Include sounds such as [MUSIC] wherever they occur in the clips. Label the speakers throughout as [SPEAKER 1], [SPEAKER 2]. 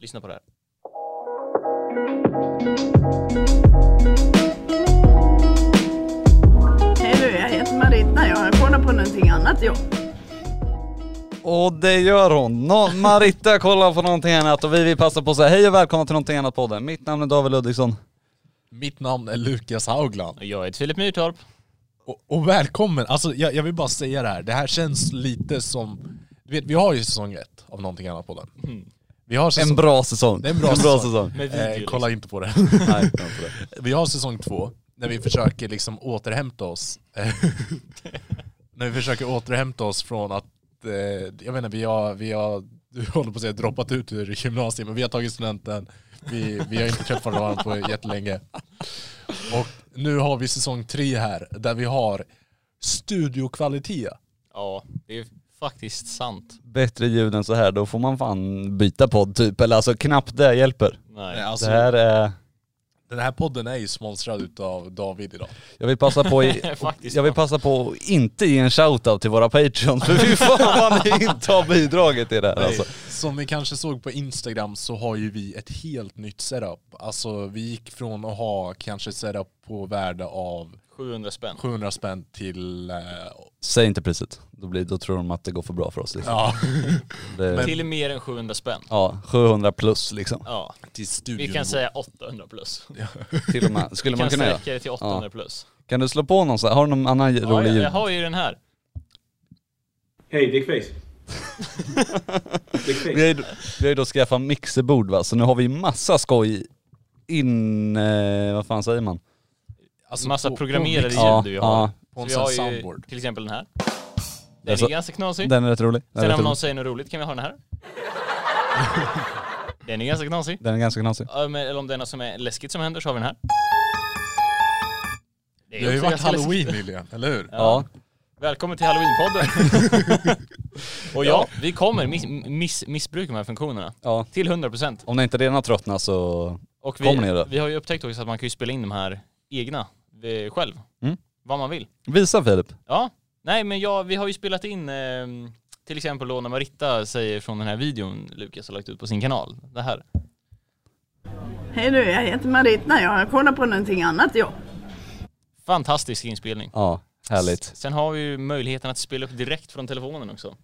[SPEAKER 1] Lyssna på det här.
[SPEAKER 2] Hej du, jag heter Marita. Jag kollar på någonting annat jobb.
[SPEAKER 3] Och det gör hon. Nå- Maritta kollar på någonting annat och vi vill passa på att säga hej och välkomna till någonting annat podden. Mitt namn är David Ludvigsson.
[SPEAKER 4] Mitt namn är Lukas Haugland.
[SPEAKER 1] Och Jag heter Filip Myrtorp.
[SPEAKER 4] Och, och välkommen, alltså jag, jag vill bara säga det här, det här känns lite som, du vet vi har ju säsong ett av någonting annat på den. Vi har säsong,
[SPEAKER 3] En bra säsong.
[SPEAKER 4] Det är Mm. en bra säsong.
[SPEAKER 1] Med video,
[SPEAKER 4] eh, kolla inte på det.
[SPEAKER 3] Nej, jag har inte det.
[SPEAKER 4] vi har säsong två, när vi försöker liksom återhämta [LAUGHS] oss. eh, när vi försöker återhämta oss från att, eh, jag vet inte, vi har, vi har, [LAUGHS] du håller på att säga droppat ut ur gymnasiet, men vi har tagit studenten, vi, vi har inte träffat varandra på jättelänge. Och nu har vi säsong tre här, där vi har studiokvalitet.
[SPEAKER 1] Ja, det är faktiskt sant.
[SPEAKER 3] Bättre ljud än så här, då får man fan byta podd typ. Eller alltså knappt det hjälper.
[SPEAKER 1] Nej.
[SPEAKER 4] Nej,
[SPEAKER 1] Ja.
[SPEAKER 4] Alltså,
[SPEAKER 3] det här är...
[SPEAKER 4] Den här podden är ju sponsrad utav David idag.
[SPEAKER 3] Jag vill passa på
[SPEAKER 4] [LAUGHS]
[SPEAKER 3] i...
[SPEAKER 1] Faktiskt.
[SPEAKER 3] Jag vill passa på att inte ge en shoutout till våra patreons för fy fan vad ni inte har bidragit till det här alltså.
[SPEAKER 4] Som ni kanske såg på Instagram så har ju vi ett helt nytt setup. Alltså vi gick från att ha kanske ett setup på värde av
[SPEAKER 1] 700 spänn.
[SPEAKER 4] 700 spänn till... Eh,
[SPEAKER 3] Säg inte priset, då, blir, då tror de att det går för bra för oss liksom.
[SPEAKER 4] ja,
[SPEAKER 3] det,
[SPEAKER 1] Till mer än 700 spänn.
[SPEAKER 3] ja, 700 plus liksom.
[SPEAKER 1] Ja,
[SPEAKER 4] till
[SPEAKER 1] vi
[SPEAKER 4] studion.
[SPEAKER 1] kan säga 800 plus.
[SPEAKER 3] Till
[SPEAKER 1] [LAUGHS]
[SPEAKER 3] och med, skulle
[SPEAKER 1] Vi
[SPEAKER 3] man
[SPEAKER 1] kan
[SPEAKER 3] kunna göra.
[SPEAKER 1] sträcka det till 800 plus.
[SPEAKER 3] Kan du slå på någon så här? Har du någon annan
[SPEAKER 1] Ja,
[SPEAKER 3] rolig
[SPEAKER 1] jag,
[SPEAKER 3] ljud?
[SPEAKER 1] jag har ju den här.
[SPEAKER 5] Hej, Dickface. Dickface.
[SPEAKER 3] Vi har ju, vi har ju då skaffat mixerbord va, så nu har vi massa skoj in... Eh, vad fan säger man?
[SPEAKER 4] Alltså,
[SPEAKER 1] Massa
[SPEAKER 4] på-
[SPEAKER 1] programmerade
[SPEAKER 4] på-
[SPEAKER 1] ljud
[SPEAKER 3] Ja,
[SPEAKER 1] vi har.
[SPEAKER 3] ja.
[SPEAKER 4] På
[SPEAKER 1] Så
[SPEAKER 4] en
[SPEAKER 1] vi
[SPEAKER 4] sån
[SPEAKER 1] har
[SPEAKER 4] här
[SPEAKER 1] ju
[SPEAKER 4] soundboard.
[SPEAKER 1] till exempel den här. Den är
[SPEAKER 3] Alltså,
[SPEAKER 1] ganska knasig.
[SPEAKER 3] Den är rätt rolig. Den är,
[SPEAKER 1] Sen
[SPEAKER 3] rätt
[SPEAKER 1] om
[SPEAKER 3] rolig.
[SPEAKER 1] någon säger något roligt kan vi ha den
[SPEAKER 4] [LAUGHS]
[SPEAKER 1] här. den är ganska knasig.
[SPEAKER 3] Den är ganska knasig.
[SPEAKER 1] Ja, men- Eller om det är något som är läskigt som händer så har vi den här. Det är
[SPEAKER 4] Det har ju
[SPEAKER 1] också
[SPEAKER 4] varit
[SPEAKER 1] ganska läskigt.
[SPEAKER 4] halloween nyligen, eller hur?
[SPEAKER 3] Ja.
[SPEAKER 1] Välkommen till Halloweenpodden! och ja, vi kommer miss, miss, missbruka de här funktionerna.
[SPEAKER 3] ja.
[SPEAKER 1] Till 100%.
[SPEAKER 3] Om ni inte redan har tröttnat så...
[SPEAKER 1] Och
[SPEAKER 3] Kommer ni
[SPEAKER 1] vi,
[SPEAKER 3] då?
[SPEAKER 1] vi har ju upptäckt också att man kan ju spela in de här egna eh, själv.
[SPEAKER 3] Mm.
[SPEAKER 1] Vad man vill.
[SPEAKER 3] Visa Filip.
[SPEAKER 1] Ja, nej men ja, vi har ju spelat in eh, till exempel då när Maritta säger från den här videon Lukas har lagt ut på sin kanal. Det här.
[SPEAKER 2] Hej du, jag heter Marita. Jag kollar på någonting annat jobb.
[SPEAKER 1] Fantastisk inspelning.
[SPEAKER 3] Ja, härligt.
[SPEAKER 1] Sen har vi ju möjligheten att spela upp direkt från telefonen också.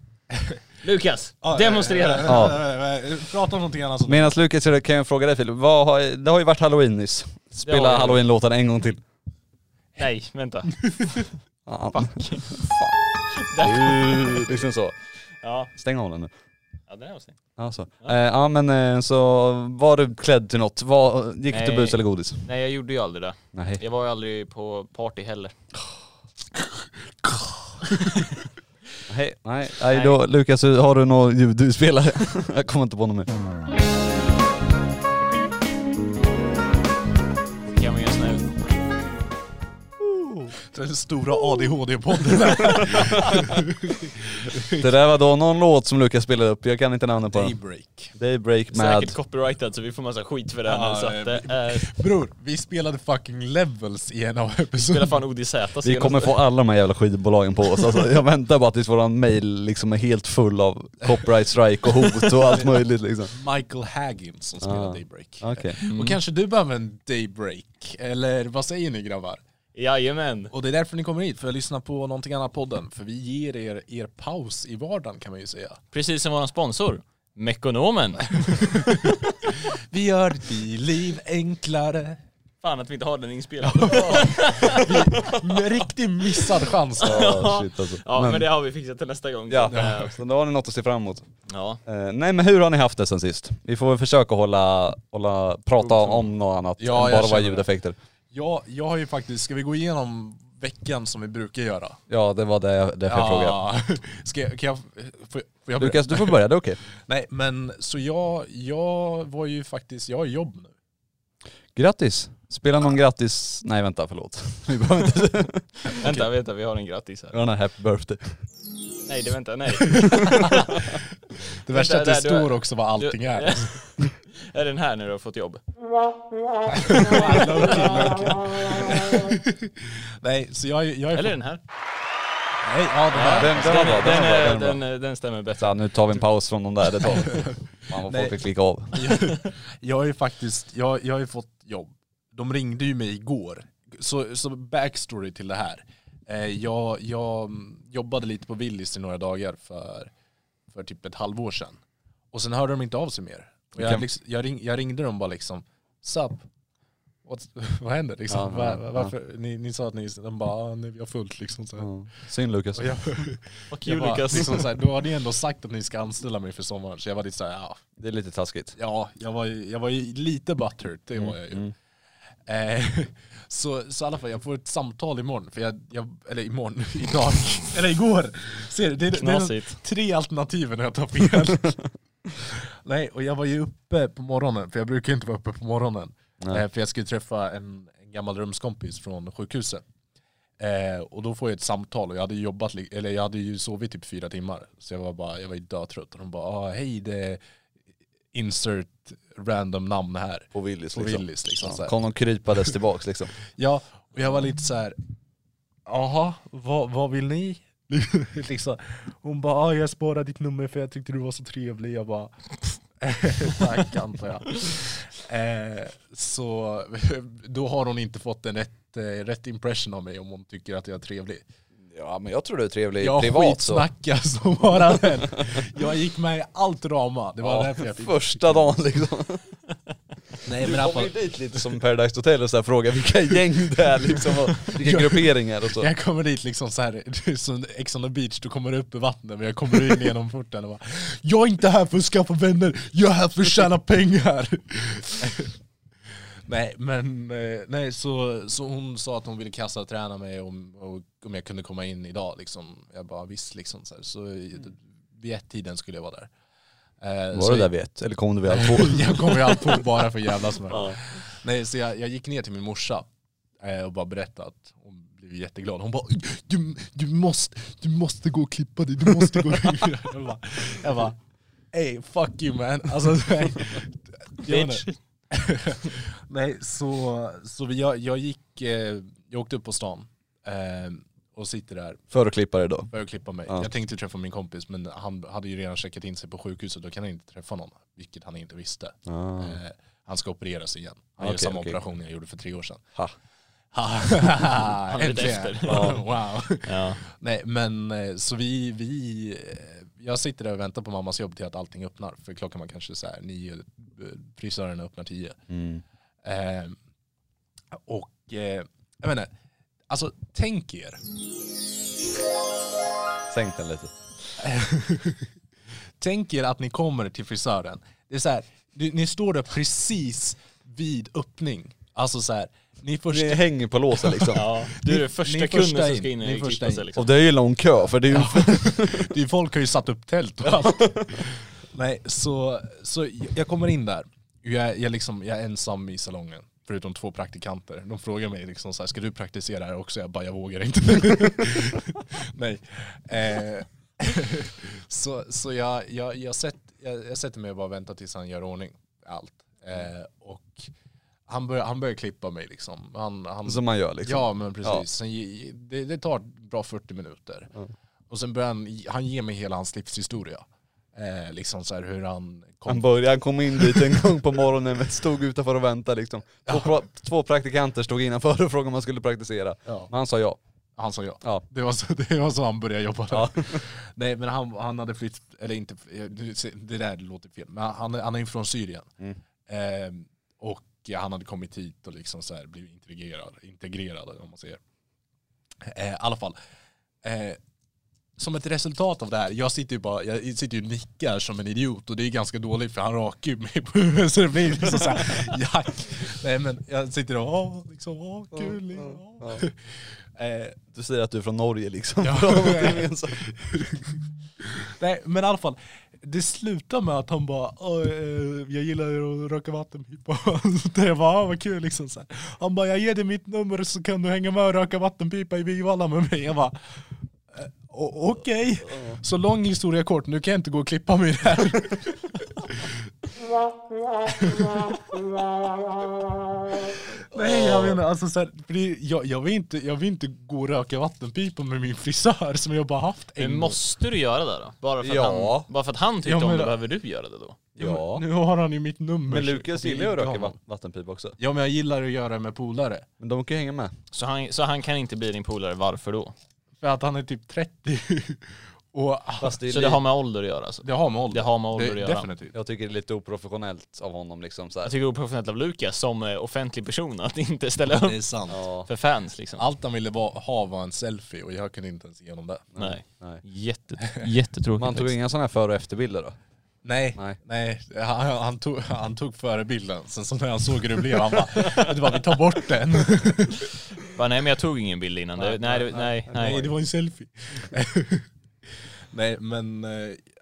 [SPEAKER 1] Lukas,
[SPEAKER 4] Ja,
[SPEAKER 1] demonstrera!
[SPEAKER 4] eh,
[SPEAKER 3] Ja.
[SPEAKER 4] eh, eh, eh, Prata om någonting annat.
[SPEAKER 3] Medan Lukas gör det kan jag fråga dig Filip, vad har, det har ju varit halloween nyss.
[SPEAKER 1] Det har
[SPEAKER 3] Spela
[SPEAKER 1] det.
[SPEAKER 3] halloween-låten en gång till.
[SPEAKER 1] Nej, vänta.
[SPEAKER 3] Ja. [LAUGHS] Fan.
[SPEAKER 1] [LAUGHS] Där.
[SPEAKER 3] Liksom så.
[SPEAKER 1] Ja,
[SPEAKER 3] Stäng av den nu.
[SPEAKER 1] ja den är avstängd.
[SPEAKER 3] Ja, så. Eh, ja men eh, så var du klädd till något? Var, gick du
[SPEAKER 1] Nej.
[SPEAKER 3] till bus eller godis?
[SPEAKER 1] Nej jag gjorde ju aldrig det.
[SPEAKER 3] Nej.
[SPEAKER 1] Jag var ju aldrig på party heller.
[SPEAKER 3] Nej, nej. nej. Då, Lukas, har du något ljud du spelar? [LAUGHS] jag kommer inte på något mer.
[SPEAKER 1] Det kan man ju göra sån här...
[SPEAKER 4] Den stora ADHD-podden.
[SPEAKER 3] Det där var då någon låt som Lukas spelade upp, jag kan inte namnet på den.
[SPEAKER 4] [LAUGHS] Daybreak.
[SPEAKER 3] Daybreak med...
[SPEAKER 1] Säkert copyrightad så vi får massa skit för det här
[SPEAKER 4] Ja,
[SPEAKER 1] nu så att det är...
[SPEAKER 4] Bror, vi spelade fucking levels i en av
[SPEAKER 1] Spelar
[SPEAKER 4] episoderna.
[SPEAKER 1] fan ODZ
[SPEAKER 3] Vi kommer få alla de här jävla skivbolagen på oss. Alltså, jag väntar bara tills våran mail liksom är helt full av copyright strike och hot och allt möjligt liksom.
[SPEAKER 4] Michael Haggins som spelar
[SPEAKER 3] Ah.
[SPEAKER 4] Daybreak.
[SPEAKER 3] Okej.
[SPEAKER 4] Och kanske du behöver en daybreak, eller vad säger ni grabbar?
[SPEAKER 1] Jajamän!
[SPEAKER 4] Och det är därför ni kommer hit, för att lyssna på någonting annat podden. För vi ger er er paus i vardagen kan man ju säga.
[SPEAKER 1] Precis som våran sponsor, Mekonomen.
[SPEAKER 4] Vi gör ditt liv [LAUGHS] enklare.
[SPEAKER 1] Fan att vi inte har den inspelad.
[SPEAKER 4] Med riktig missad chans då.
[SPEAKER 3] Ah, shit, alltså.
[SPEAKER 1] [LAUGHS] Ja men det har vi fixat till nästa gång.
[SPEAKER 3] Ja,
[SPEAKER 1] Så, eh,
[SPEAKER 3] så då har ni något att se fram emot.
[SPEAKER 1] ja.
[SPEAKER 3] Eh, nej men hur har ni haft det sen sist? Vi får väl försöka hålla, hålla prata om något annat
[SPEAKER 4] Ja,
[SPEAKER 3] än
[SPEAKER 4] jag
[SPEAKER 3] bara våra
[SPEAKER 4] känner det.
[SPEAKER 3] ljudeffekter.
[SPEAKER 4] Jag, jag har ju faktiskt, ska vi gå igenom veckan som vi brukar göra?
[SPEAKER 3] Ja det var det jag, det jag frågade.
[SPEAKER 4] [LAUGHS] Ska jag, kan jag, får, får jag börja?
[SPEAKER 3] Lukas du får börja, det är okej.
[SPEAKER 4] Nej men så jag, jag var ju faktiskt, jag har jobb nu.
[SPEAKER 3] Grattis! Spela någon grattis... Nej vänta förlåt. [LAUGHS] Vi behöver inte säga
[SPEAKER 1] Vänta, vänta, vi har en grattis här.
[SPEAKER 3] den här happy birthday.
[SPEAKER 1] Nej, det vänta, nej.
[SPEAKER 4] Det värsta är att det
[SPEAKER 1] där, du har-
[SPEAKER 4] står också vad
[SPEAKER 1] Du-
[SPEAKER 4] allting är.
[SPEAKER 1] [LAUGHS]
[SPEAKER 4] [LAUGHS]
[SPEAKER 1] Är den här när du har fått jobb?
[SPEAKER 4] Nej, så jag, jag är
[SPEAKER 1] Eller den här?
[SPEAKER 4] Nej, ja det
[SPEAKER 3] Ja.
[SPEAKER 4] där.
[SPEAKER 3] Den- den var bra, den
[SPEAKER 1] den,
[SPEAKER 3] var bra,
[SPEAKER 1] är-
[SPEAKER 3] den var bra.
[SPEAKER 1] den, är- den stämmer bättre.
[SPEAKER 3] Så nu tar vi en paus från de där, det tar vi. Man vad
[SPEAKER 4] Nej.
[SPEAKER 3] folk vill klicka av.
[SPEAKER 4] [LAUGHS] Jag har ju faktiskt, jag, jag har ju fått jobb. De ringde ju mig igår. Så, så backstory till det här. Eh, jag, jag mm, jobbade lite på Willys i några dagar för, för typ ett halvår sedan. Och sen hörde de inte av sig mer. Och jag,
[SPEAKER 3] Vilken-
[SPEAKER 4] liksom, jag, ring, jag ringde dem bara liksom, Sup? What's- [LAUGHS] vad händer liksom?
[SPEAKER 3] Ja,
[SPEAKER 4] Var-
[SPEAKER 3] ja,
[SPEAKER 4] varför? Ni, ni sa att ni, de bara, "Ah, nej, vi har fullt liksom. Så här.
[SPEAKER 3] Synd Lukas.
[SPEAKER 4] Och jag,
[SPEAKER 1] Fuck
[SPEAKER 4] jag
[SPEAKER 1] you
[SPEAKER 4] bara,
[SPEAKER 1] Lukas.
[SPEAKER 4] liksom, så här, då hade ni ändå sagt att ni ska anställa mig för sommaren. Så jag var lite såhär, ja.
[SPEAKER 3] Det är lite taskigt.
[SPEAKER 4] Ja, jag var ju, jag var ju lite butthurt, det var jag ju. Eh, [LAUGHS] så, så i alla fall, jag får ett samtal imorgon, för jag, jag eller imorgon, [LAUGHS] idag, eller igår. Ser du, det, är- det är
[SPEAKER 1] Knasigt.
[SPEAKER 4] tre alternativ när jag tar fel. [LAUGHS] Nej, och jag var ju uppe på morgonen, för jag brukar ju inte vara uppe på morgonen.
[SPEAKER 3] Nej.
[SPEAKER 4] Eh, för jag skulle träffa en, en gammal rumskompis från sjukhuset. Eh, och då får jag ett samtal och jag hade ju jobbat, li- eller jag hade ju sovit typ fyra timmar. Så jag var bara, jag var ju dötrött. Och de bara, ah, hej det är insert random namn här.
[SPEAKER 3] På Willys
[SPEAKER 4] På Willys liksom. så
[SPEAKER 3] Ja,
[SPEAKER 4] här.
[SPEAKER 3] kom de krypades tillbaks liksom.
[SPEAKER 4] Ja, och jag var lite så här. jaha, vad, vad vill ni? [LAUGHS] liksom. Hon bara, ah, jag sparade ditt nummer för jag tyckte du var så trevlig. Jag bara, [LAUGHS] tack antar jag. Eh, så [LAUGHS] då har hon inte fått en rätt, eh, rätt impression av mig om hon tycker att jag är trevlig.
[SPEAKER 3] Ja men jag tror du är trevlig
[SPEAKER 4] Jag
[SPEAKER 3] privat så.
[SPEAKER 4] skitsnackar [LAUGHS] som bara den. Jag gick med i allt drama. Det var
[SPEAKER 3] Ja,
[SPEAKER 4] därför jag fick...
[SPEAKER 3] första dagen liksom.
[SPEAKER 4] Nej,
[SPEAKER 3] Du kommer ju dit lite som Paradise Hotel och så här frågar vilka gäng det är liksom
[SPEAKER 4] [LAUGHS]
[SPEAKER 3] och vilka grupperingar och så.
[SPEAKER 4] Jag kommer dit liksom så här, det är som Ex on the beach, du kommer upp i vattnet men jag kommer
[SPEAKER 3] [LAUGHS]
[SPEAKER 4] in genom porten och bara Jag är inte här för att skaffa vänner, jag är här för att tjäna pengar! nej men, eh, nej så, så hon sa att hon ville kasta och träna mig om, och, om jag kunde komma in idag liksom Jag bara visst liksom så, här. så i- vid ett-tiden skulle jag vara där Eh,
[SPEAKER 3] Var
[SPEAKER 4] så
[SPEAKER 3] det där
[SPEAKER 4] jag-
[SPEAKER 3] vid ett? Eller kom du vid halv
[SPEAKER 4] [LAUGHS]
[SPEAKER 3] två?
[SPEAKER 4] jag kommer ju alltid på bara för att jävlas med dem. Nej, så jag, jag gick ner till min morsa eh, och bara berättade att hon blev jätteglad. Hon bara du, du, måste, du måste gå och klippa dig, du måste gå och [LAUGHS] klippa dig. Jag bara, jag bara ey fuck you man. Alltså, [LAUGHS] nej. Jag vet inte.
[SPEAKER 1] Bitch.
[SPEAKER 4] [LAUGHS] Nej, så, så vi- jag, jag gick, eh, jag åkte upp på stan eh, och sitter där
[SPEAKER 3] För att klippa dig då.
[SPEAKER 4] började klippa mig.
[SPEAKER 3] Ja.
[SPEAKER 4] Jag tänkte träffa min kompis men han hade ju redan checkat in sig på sjukhuset, då kan han inte träffa någon. Vilket han inte visste.
[SPEAKER 3] Ah.
[SPEAKER 4] Eh, han ska opereras igen. Han
[SPEAKER 3] Ah,
[SPEAKER 4] gör
[SPEAKER 3] okej,
[SPEAKER 4] samma
[SPEAKER 3] okej.
[SPEAKER 4] operation jag gjorde för
[SPEAKER 3] [LAUGHS]
[SPEAKER 4] tre år sedan.
[SPEAKER 3] Ha.
[SPEAKER 4] han
[SPEAKER 1] är lite efter.
[SPEAKER 4] [LAUGHS] wow.
[SPEAKER 1] Ja.
[SPEAKER 4] Nej men eh, så vi, vi, eh, jag sitter där och väntar på mammas jobb till att allting öppnar. För klockan var kanske så här nio, eh, frisören öppnar tio.
[SPEAKER 3] Mm.
[SPEAKER 4] Eh, och eh, jag vet inte, alltså tänk er
[SPEAKER 3] Sänk den lite.
[SPEAKER 4] Tänk er att ni kommer till frisören. Det är så här, ni, ni står där precis vid öppning. Alltså så här, ni är först...
[SPEAKER 3] Det hänger på låset
[SPEAKER 4] [LAUGHS]
[SPEAKER 3] liksom.
[SPEAKER 1] Ja. Du är
[SPEAKER 4] Ni-
[SPEAKER 1] den
[SPEAKER 4] ni
[SPEAKER 1] första
[SPEAKER 4] är
[SPEAKER 1] kunden
[SPEAKER 4] första
[SPEAKER 1] som
[SPEAKER 4] in.
[SPEAKER 1] ska in
[SPEAKER 4] Ni är
[SPEAKER 1] och
[SPEAKER 4] första
[SPEAKER 1] klippa sig
[SPEAKER 4] in.
[SPEAKER 1] liksom.
[SPEAKER 3] Och det är ju lång kö för det är ju...
[SPEAKER 4] [LAUGHS] Det är, folk har ju satt upp tält och allt. [LAUGHS] Nej, så, så jag kommer in där. Jag, jag, liksom, jag är ensam i salongen. Förutom två praktikanter. De frågar mig liksom så här, ska du praktisera här också? Jag bara, jag vågar inte. [LAUGHS] Nej. Eh, [LAUGHS] så så jag, jag, jag, sätt, jag, jag sätter mig och bara väntar tills han gör ordning. Allt. Eh, och han börjar, han börjar klippa mig liksom. Han, han,
[SPEAKER 3] Som man gör liksom.
[SPEAKER 4] Ja men precis.
[SPEAKER 3] Ja.
[SPEAKER 4] Sen, ge- ge- det, det tar bra 40 minuter. Och sen börjar han, han ger mig hela hans livshistoria. Eh, liksom så här hur han kom.
[SPEAKER 3] Han, började, han kom in dit en gång på morgonen, men stod utanför och väntade liksom. Två, pra- två praktikanter stod innanför och frågade om han skulle praktisera.
[SPEAKER 4] Ja.
[SPEAKER 3] Men han sa ja.
[SPEAKER 4] han sa ja.
[SPEAKER 3] Ja.
[SPEAKER 4] Det, var så, [LAUGHS] det var så han började jobba där. [LAUGHS] Nej men han, han hade flytt, eller inte, du ser, det där låter fel. Men han, han är ju från Syrien. Eh, och han hade kommit hit och liksom så här blivit integrerad, integrerad om man säger. Eh, I alla fall. Eh, som ett resultat av det här, jag sitter ju bara, jag sitter ju och nickar som en idiot och det är ganska dåligt för han rakar ju mig på huvudet så det blir liksom såhär, [LAUGHS] jack. Nej men jag sitter och, åh, liksom, åh, kul. Ja, [LAUGHS] Eh,
[SPEAKER 3] Du säger att du är från Norge liksom.
[SPEAKER 4] Ja.
[SPEAKER 3] [LAUGHS] Bra, något gemensamt.
[SPEAKER 4] Nej men i alla fall, det slutar med att han bara "Åh, eh, jag gillar ju att röka [LAUGHS] vattenpipa. Det jag bara, "Ah, vad kul liksom. Så här. Han bara, jag ger dig mitt nummer så kan du hänga med och röka vattenpipa i Vivalla med mig. Jag bara, "Eh, o- okej. Så lång historia kort, nu kan jag inte gå och klippa mig där. [LAUGHS] Nej, jag, Nej men alltså så här, för det, jag, jag, vill inte, jag vill inte gå och röka vattenpipa med min frisör som jag bara haft en
[SPEAKER 1] Men
[SPEAKER 4] gång.
[SPEAKER 1] måste du göra det då? Bara för att,
[SPEAKER 3] Ja.
[SPEAKER 1] han, bara för att han tyckte
[SPEAKER 4] Ja, men
[SPEAKER 1] om det
[SPEAKER 4] då-
[SPEAKER 1] behöver du göra det då?
[SPEAKER 3] Ja.
[SPEAKER 4] Nu har han ju mitt nummer.
[SPEAKER 3] Men
[SPEAKER 4] så
[SPEAKER 3] Lukas
[SPEAKER 4] det är
[SPEAKER 3] gillar ju att
[SPEAKER 4] inte
[SPEAKER 3] röka
[SPEAKER 4] honom.
[SPEAKER 3] va- vattenpipa också.
[SPEAKER 4] Ja men jag gillar att göra det med polare.
[SPEAKER 3] Men de kan ju hänga med.
[SPEAKER 1] Så han, så han kan inte bli din polare, varför då?
[SPEAKER 4] För att han är typ 30. [LAUGHS] och
[SPEAKER 3] Fast det är
[SPEAKER 1] Så det
[SPEAKER 3] li-
[SPEAKER 1] har med ålder att göra alltså?
[SPEAKER 4] det har med ålder.
[SPEAKER 1] Det har med ålder att göra.
[SPEAKER 4] Definitivt.
[SPEAKER 3] Jag tycker det är lite oprofessionellt av honom liksom så här.
[SPEAKER 1] Jag tycker det är oprofessionellt av Lukas som eh, offentlig person att inte ställa upp
[SPEAKER 4] är sant.
[SPEAKER 3] Ja,
[SPEAKER 1] för fans liksom.
[SPEAKER 4] Allt han ville va- ha var en selfie och jag kunde inte ens ge honom det.
[SPEAKER 1] Nej.
[SPEAKER 3] nej.
[SPEAKER 1] Jätte, jättetråkigt
[SPEAKER 3] Man tog
[SPEAKER 1] faktiskt.
[SPEAKER 3] inga sådana här före och efterbilder då?
[SPEAKER 4] Nej,
[SPEAKER 3] Nej.
[SPEAKER 4] nej. Han, han, tog, han tog före bilden. Sen så när han såg hur det blev, han bara, det var, vi tar bort den.
[SPEAKER 1] Bara, nej men jag tog ingen bild innan. Nej, nej, det- nej, nej,
[SPEAKER 4] det var en selfie. [LAUGHS] nej, men eh,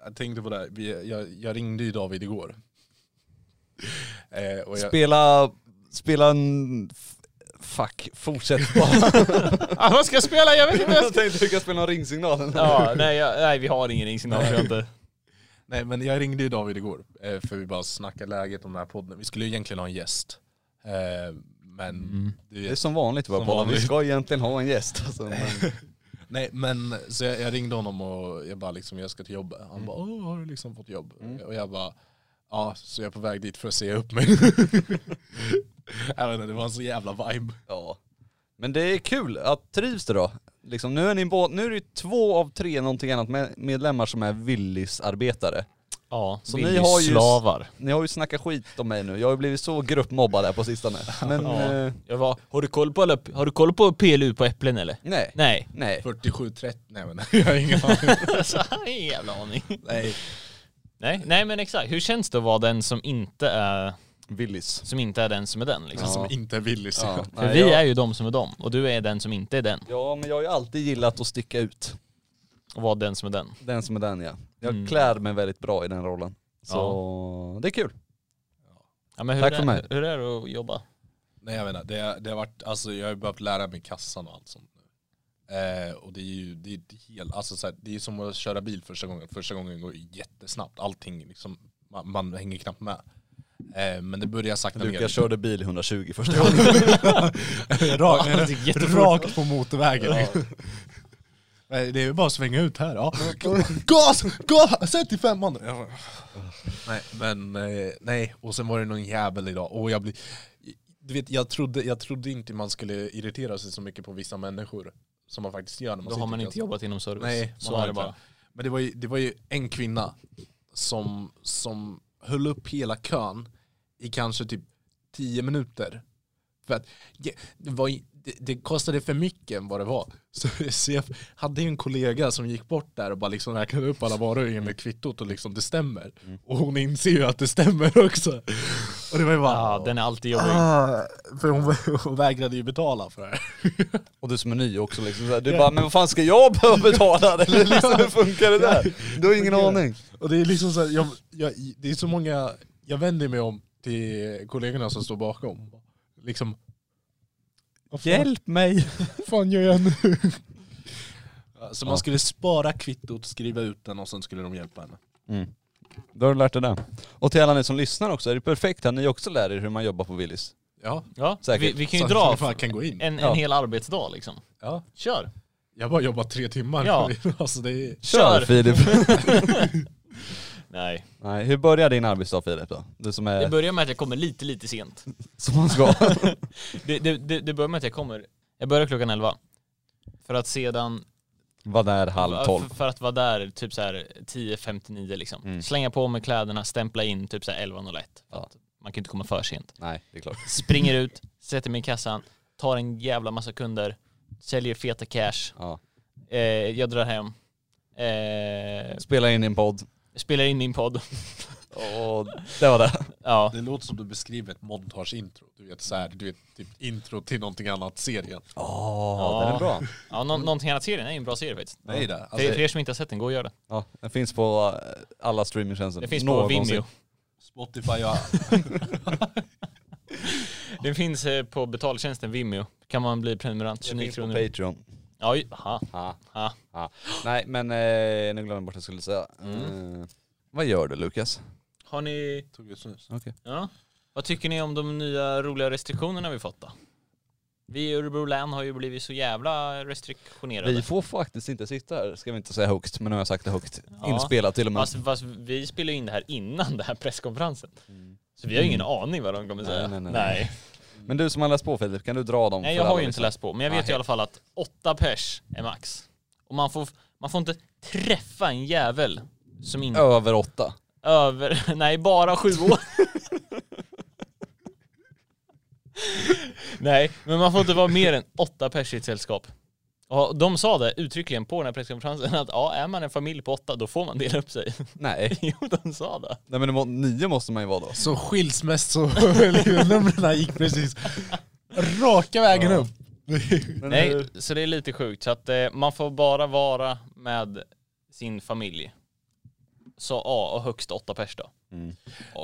[SPEAKER 4] jag tänkte på det här. Vi, jag, jag ringde ju David igår. Eh, och jag,
[SPEAKER 3] Spela, spela en... f- Fuck, fortsätt
[SPEAKER 1] [LAUGHS]
[SPEAKER 3] bara.
[SPEAKER 1] Ah, vad ska jag spela? Jag vet inte vad jag
[SPEAKER 3] [LAUGHS] jag
[SPEAKER 1] ska...
[SPEAKER 3] tänkte du kan spela någon ringsignal.
[SPEAKER 1] Ja, nej, jag, nej vi har ingen ringsignal tror jag inte.
[SPEAKER 4] nej, men jag ringde ju David igår, eh, för vi bara snackade läget om den här podden. Vi skulle ju egentligen ha en gäst. Eh, men du
[SPEAKER 3] Det
[SPEAKER 4] vet,
[SPEAKER 3] är som vanligt i våra
[SPEAKER 4] Som
[SPEAKER 3] poddar, vi
[SPEAKER 4] vanligt.
[SPEAKER 3] ska egentligen ha en gäst alltså, men...
[SPEAKER 4] Nej men så jag, jag ringde honom och jag bara liksom jag ska till jobbet. Han bara Åh, har du liksom fått jobb? Och jag bara ja så jag är på väg dit för att se upp mig. [LAUGHS] jag vet inte, det var en så jävla vibe.
[SPEAKER 3] Ja. Men det är kul, att trivs du då? Liksom, nu, är ni båt, nu är det ju två av tre någonting annat med, medlemmar som är Willys-arbetare.
[SPEAKER 1] Ja,
[SPEAKER 3] Så
[SPEAKER 1] så
[SPEAKER 3] ni
[SPEAKER 1] ni
[SPEAKER 3] har ju-
[SPEAKER 1] slavar.
[SPEAKER 3] Ni har ju snackat skit om mig nu, jag har ju blivit så gruppmobbad här
[SPEAKER 1] [LAUGHS]
[SPEAKER 3] på sistone. Men eh,
[SPEAKER 1] Jag var, har du koll på alla, har du koll på PLU på äpplen eller?
[SPEAKER 3] nej. [LAUGHS]
[SPEAKER 1] Nej.
[SPEAKER 3] Nej.
[SPEAKER 4] 47-30, nej men [LAUGHS] jag har ingen aning.
[SPEAKER 1] Alltså, jag har ingen jävla aning.
[SPEAKER 4] Nej.
[SPEAKER 1] Nej, nej men exakt. Hur känns det att vara den som inte är,
[SPEAKER 3] Willys.
[SPEAKER 1] som inte är den som är den liksom?
[SPEAKER 4] Som inte vill se.
[SPEAKER 3] Ja.
[SPEAKER 1] För
[SPEAKER 3] Nej,
[SPEAKER 1] vi
[SPEAKER 3] jag-
[SPEAKER 1] är ju de som är de och du är den som inte är den
[SPEAKER 3] Ja men jag har ju alltid gillat att sticka ut.
[SPEAKER 1] och vara den som är den.
[SPEAKER 3] Den som är den ja. Jag
[SPEAKER 1] Mm.
[SPEAKER 3] klär mig väldigt bra i den rollen. Så det är kul.
[SPEAKER 1] Ja, men hur
[SPEAKER 3] Tack
[SPEAKER 1] är,
[SPEAKER 3] för mig.
[SPEAKER 1] Hur är det att jobba?
[SPEAKER 4] Nej jag menar, det, det har varit, alltså jag har ju behövt lära mig kassan och allt sånt nu. Eh, och det är ju det är ett helt, alltså så här, det är som att köra bil första gången. Första gången går jättesnabbt, allting liksom, man, man hänger knappt med. Eh, men det börjar sakta liksom. ner.
[SPEAKER 3] Lukas
[SPEAKER 4] lite.
[SPEAKER 3] körde bil 120 första gången.
[SPEAKER 4] [LAUGHS] Rakt,
[SPEAKER 1] Ja, det är jättefort.
[SPEAKER 4] rakt på motorvägen. [LAUGHS] Nej, Det är ju bara att svänga ut här. Ja. Gas! Gas! Sätt i femman! Ja. Nej, men eh, nej. Och sen var det någon jävel idag. Och jag blir... Du vet, jag trodde, jag trodde inte man skulle irritera sig så mycket på vissa människor. Som man faktiskt gör när man
[SPEAKER 1] Då
[SPEAKER 4] sitter
[SPEAKER 1] har man
[SPEAKER 4] i
[SPEAKER 1] inte
[SPEAKER 4] klassen.
[SPEAKER 1] jobbat inom service.
[SPEAKER 4] Nej,
[SPEAKER 1] så
[SPEAKER 4] man
[SPEAKER 1] är
[SPEAKER 4] har
[SPEAKER 1] det
[SPEAKER 4] inte
[SPEAKER 1] bara.
[SPEAKER 4] Men det var ju, det var ju en kvinna som, som höll upp hela kön i kanske typ 10 minuter. För att det, det, var, ju- det, det kostade för mycket än vad det var. Så, [LAUGHS] så jag hade ju en kollega som gick bort där och bara liksom räknade upp alla varor enligt kvittot och liksom det stämmer. Och hon inser ju att det stämmer också. Och det var ju bara...
[SPEAKER 1] Ja, den är alltid jobbig.
[SPEAKER 4] Ah, för hon, [LAUGHS] hon vägrade ju betala för det här.
[SPEAKER 3] [LAUGHS] Och du som är ny också liksom. Så här, du bara, men vad fan ska jag behöva betala? [LAUGHS] Eller liksom, hur funkar det där? Du har ingen aning.
[SPEAKER 4] Och det är liksom så här, jag, jag, det är så många, jag vänder mig om till kollegorna som står bakom. Liksom, vad fan,
[SPEAKER 3] mig!
[SPEAKER 4] fan gör jag nu? [LAUGHS] Så man skulle spara kvittot, skriva ut den och sen skulle de hjälpa henne.
[SPEAKER 3] Mm. Då har du lärt dig det. Och till alla ni som lyssnar också, är det perfekt att ni också lär er hur man jobbar på Willys.
[SPEAKER 4] Ja,
[SPEAKER 1] Ja,
[SPEAKER 3] Säkert.
[SPEAKER 1] vi, vi kan ju
[SPEAKER 4] så
[SPEAKER 1] dra
[SPEAKER 4] att man kan gå in.
[SPEAKER 1] en, en
[SPEAKER 3] Ja.
[SPEAKER 1] hel arbetsdag liksom.
[SPEAKER 4] Ja.
[SPEAKER 1] Kör!
[SPEAKER 4] Jag har bara jobbat tre timmar.
[SPEAKER 1] Ja.
[SPEAKER 4] [LAUGHS] Alltså det är,
[SPEAKER 1] Kör!
[SPEAKER 3] Filip! [LAUGHS]
[SPEAKER 1] Nej,
[SPEAKER 3] Nej, hur börjar din arbetsdag Filip då? Du som
[SPEAKER 1] det
[SPEAKER 3] är...
[SPEAKER 1] börjar med att jag kommer lite, lite sent.
[SPEAKER 3] Som
[SPEAKER 1] [LAUGHS]
[SPEAKER 3] man ska.
[SPEAKER 1] Det, det, det, det börjar med att jag kommer, jag börjar klockan 11. För att sedan,
[SPEAKER 3] Var där halv tolv.
[SPEAKER 1] För, för att vara där typ så här 10.59 liksom.
[SPEAKER 3] Mm.
[SPEAKER 1] Slänga på mig kläderna, stämpla in typ så här 11.01. För
[SPEAKER 3] Ja.
[SPEAKER 1] att Man kan ju inte komma för sent.
[SPEAKER 3] Nej, det är klart.
[SPEAKER 1] Springer ut, sätter mig i kassan, tar en jävla massa kunder, säljer feta cash.
[SPEAKER 3] Ja.
[SPEAKER 1] Eh, jag drar hem. Eh,
[SPEAKER 3] Spela in i en podd.
[SPEAKER 1] spelar in min podd. [LAUGHS]
[SPEAKER 3] Och det var det.
[SPEAKER 1] ja.
[SPEAKER 4] det låter som du beskriver ett montageintro. Du vet så här, du vet typ intro till någonting annat serien.
[SPEAKER 3] Åh, den är bra.
[SPEAKER 1] ja, nå- någonting annat serien är ju en bra serie faktiskt.
[SPEAKER 4] Det är det. Alltså,
[SPEAKER 1] För, för er som inte har sett den, gå och gör det.
[SPEAKER 3] Ja, den finns på eh, alla streamingtjänster.
[SPEAKER 1] Den finns på
[SPEAKER 3] Någonsin.
[SPEAKER 1] Vimeo.
[SPEAKER 4] Spotify ja.
[SPEAKER 1] Den finns eh, på betaltjänsten Vimeo. Kan man bli prenumerant,
[SPEAKER 3] Den
[SPEAKER 1] 29
[SPEAKER 3] finns på
[SPEAKER 1] kronor.
[SPEAKER 3] Patreon.
[SPEAKER 1] Ja, ju- aha,
[SPEAKER 3] Ja,
[SPEAKER 1] aha.
[SPEAKER 3] ja. Nej men eh, nu glömde jag bort vad jag skulle säga.
[SPEAKER 1] Mm.
[SPEAKER 3] Eh, vad gör du Lukas?
[SPEAKER 1] Har ni,
[SPEAKER 4] Tog ett snus.
[SPEAKER 3] Okej.
[SPEAKER 1] ja. Vad tycker ni om de nya roliga restriktionerna vi fått då? Vi i Örebro län har ju blivit så jävla restriktionerade.
[SPEAKER 3] Vi får faktiskt inte sitta här, ska vi inte säga högt, men nu har jag sagt det högt.
[SPEAKER 1] Ja. Alltså-
[SPEAKER 3] Inspelat till och med.
[SPEAKER 1] Fast, fast vi spelar ju in det här innan den här presskonferensen. Så vi har ju ingen aning vad de kommer
[SPEAKER 3] Nej,
[SPEAKER 1] säga.
[SPEAKER 3] Mm. nej, nej, nej.
[SPEAKER 1] nej.
[SPEAKER 3] Men du som har läst på Filip, kan du dra dem?
[SPEAKER 1] Nej
[SPEAKER 3] för
[SPEAKER 1] jag
[SPEAKER 3] alla liksom?
[SPEAKER 1] har ju inte
[SPEAKER 3] lyssnare?
[SPEAKER 1] läst på, men jag vet ju i alla fall att åtta pers är max. Och man får, man får inte träffa en jävel som inte
[SPEAKER 3] Över åtta.
[SPEAKER 1] över, [LAUGHS] nej bara sju år. nej, men man får inte vara mer än åtta pers i ett sällskap. Och de sa det uttryckligen på den här presskonferensen att ja, är man en familj på åtta då får man dela upp sig.
[SPEAKER 3] Nej.
[SPEAKER 1] [LAUGHS] jo, de sa det.
[SPEAKER 3] Nej men det må, nio måste man ju vara då.
[SPEAKER 4] Så [LAUGHS] skilsmässorumren gick precis raka vägen upp.
[SPEAKER 3] Men
[SPEAKER 1] Nej,
[SPEAKER 3] hur-
[SPEAKER 1] så det är lite sjukt. Så att eh, man får bara vara med sin familj. Så ja, och högst åtta pers då. Och,
[SPEAKER 4] Mm.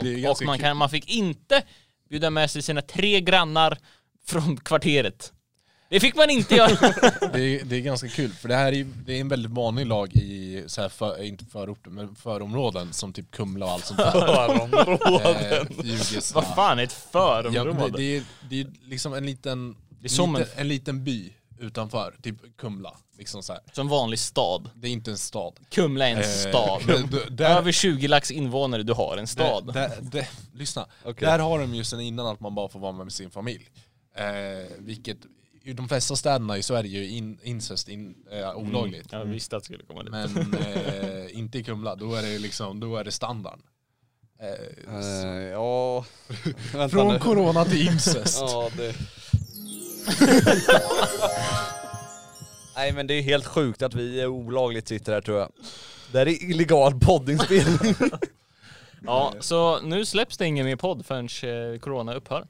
[SPEAKER 4] Det är
[SPEAKER 1] och
[SPEAKER 4] ganska
[SPEAKER 1] man,
[SPEAKER 4] kul.
[SPEAKER 1] kan, man fick inte bjuda med sig sina tre grannar från kvarteret. Det fick man inte
[SPEAKER 4] [LAUGHS]
[SPEAKER 1] göra.
[SPEAKER 4] Det är, det är ganska kul, för det här är, ju- det är en väldigt vanlig lag i, så här för, inte förorter, men förområden som typ Kumla och allt sånt
[SPEAKER 1] [LAUGHS]
[SPEAKER 4] där. Eh, Fjugesta.
[SPEAKER 1] Vad fan är ett
[SPEAKER 4] Ja, men det,
[SPEAKER 1] förområde?
[SPEAKER 4] det, är, det är liksom en liten,
[SPEAKER 1] är som
[SPEAKER 4] liten, en... liten by utanför, typ Kumla. Liksom så här.
[SPEAKER 1] Som vanlig stad.
[SPEAKER 4] Det är inte en stad.
[SPEAKER 1] Kumla är en
[SPEAKER 4] Eh,
[SPEAKER 1] stad.
[SPEAKER 4] [LAUGHS] d- där-
[SPEAKER 1] Över 20 lax invånare, du har en stad.
[SPEAKER 4] Där, där, där, [LAUGHS] lyssna, där har de ju sen innan att man bara får vara med sin familj. Eh, vilket, i de flesta städerna i Sverige är ju in, incest in, eh, olagligt.
[SPEAKER 1] Jag visste att det skulle komma dit.
[SPEAKER 4] Men eh, inte i Kumla, då är det liksom, då är det standard. Eh,
[SPEAKER 3] Eh, ja... Vänta
[SPEAKER 4] från
[SPEAKER 3] nu.
[SPEAKER 4] corona till incest.
[SPEAKER 3] Ja, det... [LAUGHS] Nej men det är helt sjukt att vi är olagligt sitter här tror jag. Det här är illegal [LAUGHS] poddinspelning.
[SPEAKER 1] Ja, så nu släpps det ingen mer podd förrän eh, corona upphör.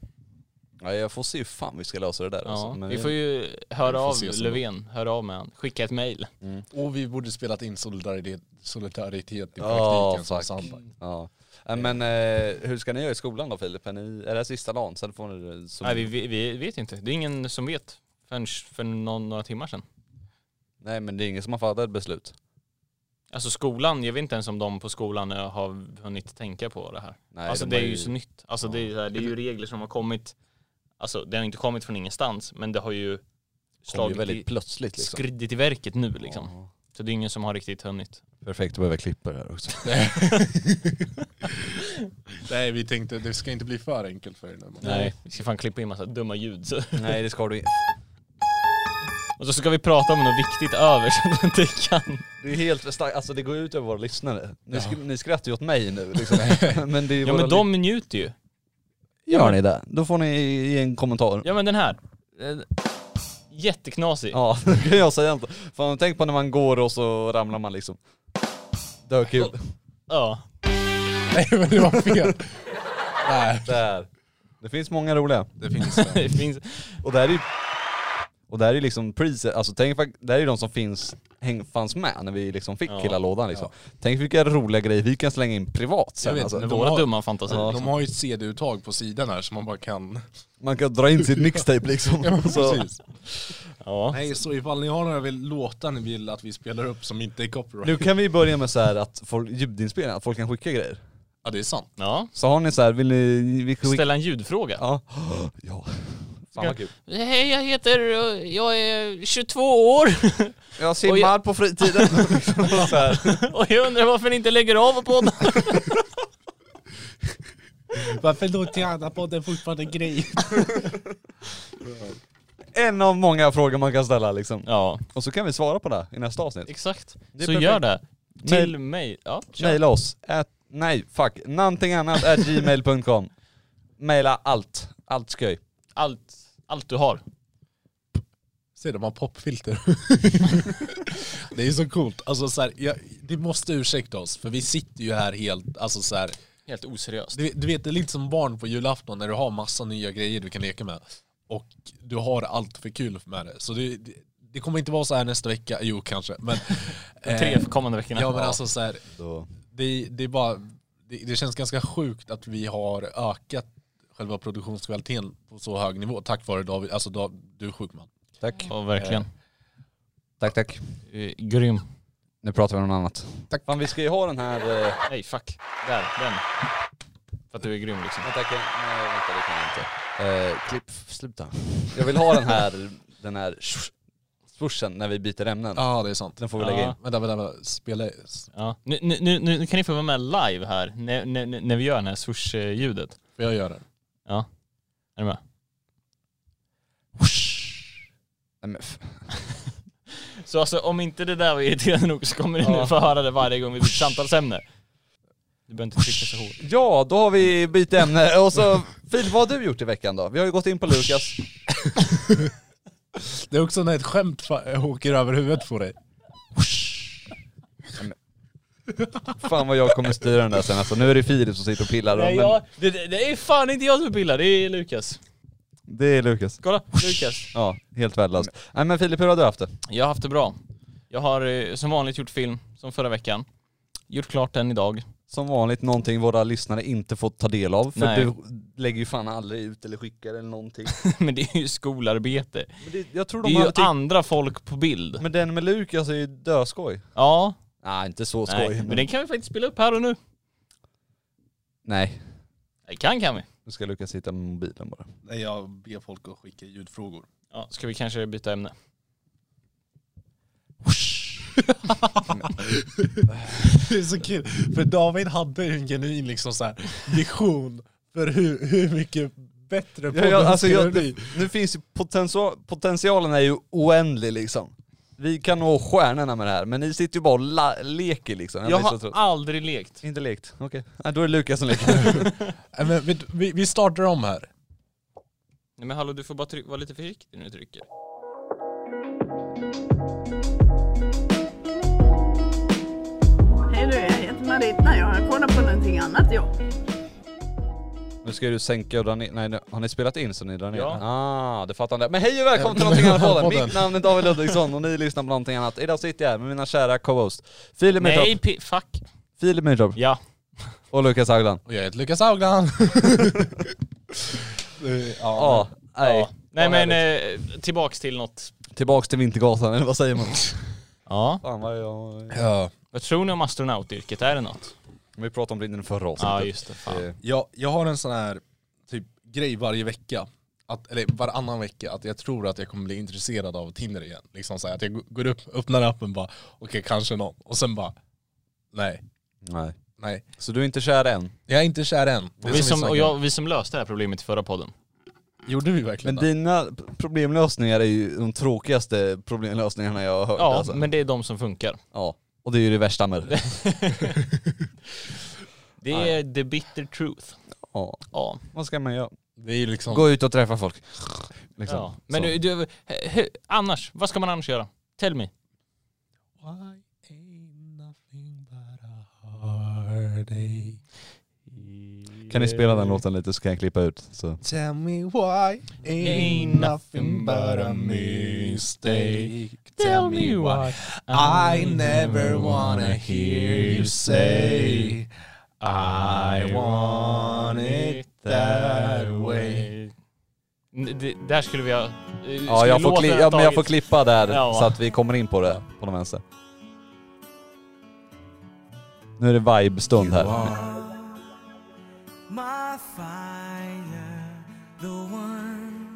[SPEAKER 3] ja, jag får se hur fan vi ska lösa det där
[SPEAKER 1] Ja,
[SPEAKER 3] alltså. Men
[SPEAKER 1] vi får ju höra
[SPEAKER 4] får
[SPEAKER 1] av
[SPEAKER 4] se sen då.
[SPEAKER 1] Löfven, höra av med han. Skicka ett mejl.
[SPEAKER 4] Och vi borde spelat in solidaritet, solidaritet i praktiken
[SPEAKER 3] Ja,
[SPEAKER 4] som
[SPEAKER 3] fuck.
[SPEAKER 4] standard.
[SPEAKER 3] Ja. Nej, Men eh, hur ska ni göra i skolan då Filip? Är, ni, är det här sista dagen? Sen får ni det som...
[SPEAKER 1] Nej, vi, vi, vi vet inte. Det är ingen som vet förrän för någon, några timmar sedan.
[SPEAKER 3] Nej men det är ingen som har fattat ett beslut.
[SPEAKER 1] Alltså skolan, jag vet inte ens om de på skolan eh, har hunnit tänka på det här.
[SPEAKER 3] Nej,
[SPEAKER 1] alltså
[SPEAKER 3] de
[SPEAKER 1] det är
[SPEAKER 3] har
[SPEAKER 1] ju
[SPEAKER 3] ju-
[SPEAKER 1] så nytt. Alltså det, är, så här, det är ju regler som har kommit, alltså det har inte kommit från ingenstans, men det har ju
[SPEAKER 3] Kom ju
[SPEAKER 1] slagit
[SPEAKER 3] väldigt
[SPEAKER 1] i,
[SPEAKER 3] plötsligt liksom.
[SPEAKER 1] skridit i verket nu liksom. Så det är ingen som har riktigt hunnit.
[SPEAKER 3] Perfekt, du behöver klippa det
[SPEAKER 1] [LAUGHS]
[SPEAKER 3] här också.
[SPEAKER 4] Nej vi tänkte det ska inte bli för enkelt för er nu.
[SPEAKER 1] Nej, vi ska fan klippa in massa dumma ljud. Så.
[SPEAKER 3] Nej det ska du inte.
[SPEAKER 1] Och så ska vi prata om något viktigt över som de inte kan.
[SPEAKER 3] Det är helt för starkt, alltså det går ut över våra lyssnare. Ni, sk- ni skrattar ju åt mig nu liksom. [LAUGHS] men det är
[SPEAKER 1] Ja
[SPEAKER 3] våra
[SPEAKER 1] men de njuter ju.
[SPEAKER 3] ly- Gör ni det? Då får ni ge en kommentar.
[SPEAKER 1] Ja men den här. Eh, Jätteknasig.
[SPEAKER 3] Ja, [LAUGHS] det kan jag säga inte. Fan tänk på när man går och så ramlar man liksom. Det var kul.
[SPEAKER 1] Ja.
[SPEAKER 4] [LAUGHS]
[SPEAKER 1] [LAUGHS]
[SPEAKER 4] Nej men det var fel. Nej.
[SPEAKER 3] Där. Det finns många roliga.
[SPEAKER 4] Det finns det.
[SPEAKER 1] Det finns,
[SPEAKER 3] Och det här är ju... Och det här är liksom priset, alltså tänk fak- det här är ju de som finns, häng, fanns med när vi liksom fick
[SPEAKER 1] Ja.
[SPEAKER 3] hela lådan liksom. Tänk vilka roliga grejer vi kan slänga in privat
[SPEAKER 4] Jag
[SPEAKER 3] sen
[SPEAKER 4] vet,
[SPEAKER 3] alltså.
[SPEAKER 4] men
[SPEAKER 1] våra
[SPEAKER 4] har-
[SPEAKER 1] dumma fantasier. liksom.
[SPEAKER 4] De har ju ett CD-uttag på sidan här som man bara kan...
[SPEAKER 3] Man kan dra in sitt mixtape liksom.
[SPEAKER 4] Ja, men
[SPEAKER 3] så.
[SPEAKER 4] precis.
[SPEAKER 1] Ja.
[SPEAKER 4] Nej, så ifall ni har några vill- låtar ni vill att vi spelar upp som inte är copyright.
[SPEAKER 3] Nu kan vi börja med så här att folk, ljudinspelning, att folk kan skicka grejer.
[SPEAKER 4] Ja det är sant.
[SPEAKER 1] ja.
[SPEAKER 3] Så har ni så här, vill ni... Vi skicka,
[SPEAKER 1] Ställa en ljudfråga.
[SPEAKER 3] ja. ja. Fan vad kul.
[SPEAKER 1] Hej jag heter, eh, jag är 22 år [LAUGHS]
[SPEAKER 3] Jag
[SPEAKER 1] Och jag-
[SPEAKER 3] på fritiden. [LAUGHS] så här.
[SPEAKER 1] och jag undrar varför ni inte lägger av på
[SPEAKER 3] [LAUGHS]
[SPEAKER 1] den.
[SPEAKER 4] Varför låter Anna-podden fortfarande grej?
[SPEAKER 3] En av många frågor man kan ställa liksom.
[SPEAKER 1] Ja,
[SPEAKER 3] Och så kan vi svara på det i nästa avsnitt.
[SPEAKER 1] exakt.
[SPEAKER 3] Det är
[SPEAKER 1] Så
[SPEAKER 3] perfekt.
[SPEAKER 1] gör det. Till
[SPEAKER 3] Mail.
[SPEAKER 1] mig. Ja, kör.
[SPEAKER 3] Maila oss. At, nej, fuck. Någonting annat at gmail.com. Maila allt. Allt skoj.
[SPEAKER 1] Allt, allt du har.
[SPEAKER 4] Se de har [LAUGHS] popfilter. det är så coolt. Alltså så här, jag, det måste ursäkta oss för vi sitter ju här helt, alltså så här,
[SPEAKER 1] Helt oseriöst.
[SPEAKER 4] du, du vet det är lite som barn på julafton när du har massa nya grejer du kan leka med. Och du har allt för kul med det. Så det, det, det kommer inte vara så här nästa vecka, jo kanske. [LAUGHS] Men, Eh,
[SPEAKER 1] Tre för kommande veckorna.
[SPEAKER 4] Ja men alltså så här,
[SPEAKER 3] Då.
[SPEAKER 4] det, det är bara, det, det känns ganska sjukt att vi har ökat själva produktionskvaliteten på så hög nivå tack vare David, alltså Dav- du är sjukman.
[SPEAKER 3] Tack.
[SPEAKER 1] Ja, verkligen.
[SPEAKER 3] Tack, tack.
[SPEAKER 1] Eh, Grym.
[SPEAKER 3] Nu pratar vi om något annat. Tack. Fan, vi ska ju ha den här... Eh,
[SPEAKER 1] Nej, fuck. Där, den. Fast att du är grym liksom.
[SPEAKER 3] Jag tänker, nej vänta det kan jag inte. Eh, klipp, sluta. Jag vill ha den här, [LAUGHS] den här swish- swooshen när vi byter ämnen.
[SPEAKER 4] Ja det är sant.
[SPEAKER 3] Den får vi lägga
[SPEAKER 1] Ja.
[SPEAKER 3] in.
[SPEAKER 4] Vänta, vänta, vänta. Spela... s-
[SPEAKER 1] Ja. Nu, nu, nu, nu kan ni få vara med live här när, när, när vi gör det här swoosh-ljudet.
[SPEAKER 4] Får jag göra den?
[SPEAKER 1] Ja. Är ni med?
[SPEAKER 3] Nej, men f-
[SPEAKER 1] Så alltså om inte det där var irriterande nog så kommer ni nu få höra det varje gång vi byter samtalsämne. Du behöver inte trycka så hårt.
[SPEAKER 3] Ja, då har vi bytt ämne. Och så, Filip vad har du gjort i veckan då? Vi har ju gått in på Lukas.
[SPEAKER 4] Det är också när ett skämt fa- åker över huvudet på dig.
[SPEAKER 3] Fan vad jag kommer styra den där sen alltså. Nu är det Filip som sitter och pillar.
[SPEAKER 1] Nej,
[SPEAKER 3] men
[SPEAKER 1] jag, det, det det är fan inte jag som pillar, det är Lukas.
[SPEAKER 3] Det är Lukas.
[SPEAKER 1] Kolla, Lukas.
[SPEAKER 3] Ja, helt värdelöst. Nej men Filip, hur har du haft det?
[SPEAKER 1] Jag har haft det bra. Jag har eh, som vanligt gjort film, som förra veckan. Gjort klart den idag. [LAUGHS]
[SPEAKER 3] Som vanligt någonting våra lyssnare inte får ta del av. För
[SPEAKER 1] Nej.
[SPEAKER 3] du lägger ju fan aldrig ut eller skickar eller någonting.
[SPEAKER 1] Men det är ju skolarbete.
[SPEAKER 3] Men det, jag tror
[SPEAKER 1] Det
[SPEAKER 3] de typ-
[SPEAKER 1] är ju
[SPEAKER 3] hade tyckt...
[SPEAKER 1] andra folk på bild.
[SPEAKER 3] Men den med Lukas är ju döskoj.
[SPEAKER 1] Ja,
[SPEAKER 3] Nej, inte så skoj.
[SPEAKER 1] nej, men den kan vi faktiskt spela upp här och nu.
[SPEAKER 3] Nej.
[SPEAKER 1] Det kan kan vi.
[SPEAKER 3] Nu ska Lukas sitta med mobilen bara.
[SPEAKER 4] Nej, jag ber folk att skicka ljudfrågor.
[SPEAKER 1] Ja, ska vi kanske byta ämne?
[SPEAKER 4] [LAUGHS] Det är så kul, för David hade ju en genuin liksom så här vision för hur, hur mycket bättre podden
[SPEAKER 3] alltså,
[SPEAKER 1] alltså,
[SPEAKER 4] skulle bli.
[SPEAKER 3] nu finns ju potential, potentialen är ju oändlig liksom. Vi kan nå stjärnorna med det här, men ni sitter ju bara och la, leker liksom.
[SPEAKER 1] Jag
[SPEAKER 3] blir så trött.
[SPEAKER 1] har Ah! aldrig lekt.
[SPEAKER 3] Inte lekt, okej. Nej, då är det Lukas som leker.
[SPEAKER 4] Nej, men vi, vi, vi startar om här.
[SPEAKER 1] Nej men hallå du får bara tryck- vara lite försiktig när du trycker.
[SPEAKER 2] Hej du, jag heter Marita. Jag kollar på någonting annat jag.
[SPEAKER 3] [LAUGHS] nu ska du sänka och dra ner, nej nu- har ni spelat in så ni drar ner?
[SPEAKER 1] Ja.
[SPEAKER 3] Ah, det fattar ni. Men hej och välkommen till någonting annat
[SPEAKER 1] [LAUGHS]
[SPEAKER 3] podden. Mitt namn är David Ludvigsson och ni lyssnar på någonting annat. Idag sitter jag här med mina kära co-hosts Filip
[SPEAKER 1] Nej,
[SPEAKER 3] Myrtorp,
[SPEAKER 1] pi- fuck.
[SPEAKER 3] Filip Myrtorp
[SPEAKER 1] Ja.
[SPEAKER 3] och Lukas Haugland.
[SPEAKER 4] Och jag heter Lukas Haugland. Eh,
[SPEAKER 3] Ja,
[SPEAKER 4] ja.
[SPEAKER 3] nej.
[SPEAKER 1] ja. Nej
[SPEAKER 3] Vad
[SPEAKER 1] men eh, tillbaks till något.
[SPEAKER 3] Tillbaks till Vintergatan eller vad
[SPEAKER 1] [LAUGHS]
[SPEAKER 3] säger man?
[SPEAKER 1] Ja.
[SPEAKER 3] Fan vad jag...
[SPEAKER 4] ja.
[SPEAKER 1] Vad tror ni om astronautyrket? Är det något?
[SPEAKER 3] Vi pratade om det innan förra avsnittet.
[SPEAKER 1] Ja just det, fan.
[SPEAKER 3] Eh,
[SPEAKER 4] Jag, jag har en sån här typ grej varje vecka, att, eller varannan vecka, att jag tror att jag kommer bli intresserad av Tinder igen. Liksom så här, att jag går upp, öppnar appen bara, okej kanske någon. Och sen bara, nej,
[SPEAKER 3] Nej.
[SPEAKER 4] nej.
[SPEAKER 3] Så du är inte kär än?
[SPEAKER 4] Jag är inte kär än. Det är
[SPEAKER 1] Och vi, som,
[SPEAKER 4] vi
[SPEAKER 1] och
[SPEAKER 4] snackade
[SPEAKER 1] jag,
[SPEAKER 4] om.
[SPEAKER 1] vi som löste det här problemet i förra podden.
[SPEAKER 4] Gjorde vi verkligen
[SPEAKER 3] Men
[SPEAKER 4] det?
[SPEAKER 3] dina p- problemlösningar är ju de tråkigaste problemlösningarna jag har hört
[SPEAKER 1] Ja,
[SPEAKER 3] alltså.
[SPEAKER 1] men det är de som funkar.
[SPEAKER 3] Ja. Och det är ju det värsta
[SPEAKER 1] [LAUGHS]
[SPEAKER 3] med det.
[SPEAKER 1] Det är the bitter truth.
[SPEAKER 3] Ja.
[SPEAKER 1] Ja.
[SPEAKER 3] Vad ska man göra?
[SPEAKER 4] Det är ju liksom...
[SPEAKER 3] Gå ut och träffa folk. Liksom.
[SPEAKER 1] ja. Men
[SPEAKER 3] Så.
[SPEAKER 1] du, du, he- he- annars, vad ska man annars göra? Tell me.
[SPEAKER 4] Why ain't nothing but a heartache?
[SPEAKER 3] Kan ni spela den låten lite så kan jag klippa ut. Så.
[SPEAKER 4] Tell me why ain't nothing but a mistake. Tell me why I never wanna hear you say I want it that way.
[SPEAKER 1] Eh, N- Det, där skulle vi ha... eh, skulle
[SPEAKER 3] Ja, jag får,
[SPEAKER 1] låten
[SPEAKER 3] kli-
[SPEAKER 1] ha
[SPEAKER 3] ja men jag får
[SPEAKER 1] tagit-
[SPEAKER 3] klippa där
[SPEAKER 1] Ja.
[SPEAKER 3] så att vi kommer in på det, på de vänster. Nu är det vibe-stund här.
[SPEAKER 6] my fire, the one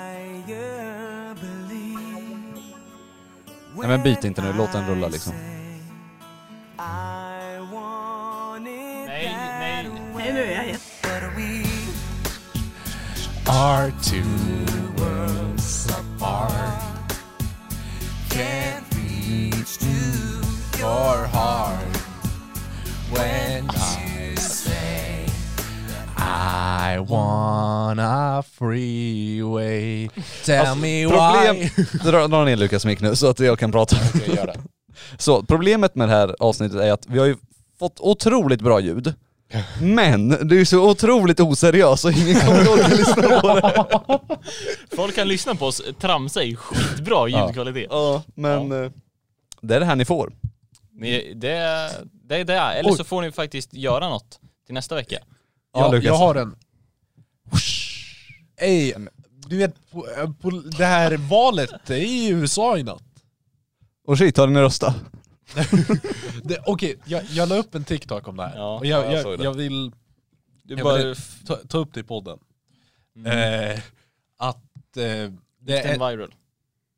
[SPEAKER 6] desire, believe.
[SPEAKER 3] Nej men byt inte nu, låt den rulla liksom.
[SPEAKER 6] I want it
[SPEAKER 1] Nej, nej.
[SPEAKER 2] Hej du, jag heter...
[SPEAKER 6] that we
[SPEAKER 4] Are two worlds apart.
[SPEAKER 6] can't reach to
[SPEAKER 4] Your heart when I say I want a freeway. Tell me
[SPEAKER 3] Problem...
[SPEAKER 4] why.
[SPEAKER 3] Dra, dra ner Lukas mick nu så att jag kan prata. Så problemet med det här avsnittet är att vi har ju fått otroligt bra ljud, men det är ju så otroligt oseriöst så ingen kommer orka lyssna på det. liksom.
[SPEAKER 1] Folk kan lyssna på oss tramsa i skitbra ljudkvalitet.
[SPEAKER 3] Ja, men eh, det är det här ni får.
[SPEAKER 1] Ni- Det, det är det. Eller
[SPEAKER 4] Oj.
[SPEAKER 1] så får ni faktiskt göra något till nästa vecka.
[SPEAKER 3] Ja,
[SPEAKER 4] jag,
[SPEAKER 3] Lukas.
[SPEAKER 4] jag har en. Ey, du vet, på, på det här valet det är i USA i natt.
[SPEAKER 3] Och shit, har ni röstat?
[SPEAKER 4] Det- Okej, jag, jag la upp en TikTok om det här.
[SPEAKER 1] Ja,
[SPEAKER 4] och jag,
[SPEAKER 1] jag
[SPEAKER 4] jag,
[SPEAKER 1] såg det.
[SPEAKER 4] jag, vill
[SPEAKER 1] Du
[SPEAKER 4] jag
[SPEAKER 1] bara... Mm.
[SPEAKER 4] vill ta, ta upp det i podden. Eh, att eh, det
[SPEAKER 1] Den
[SPEAKER 4] är,
[SPEAKER 1] viral.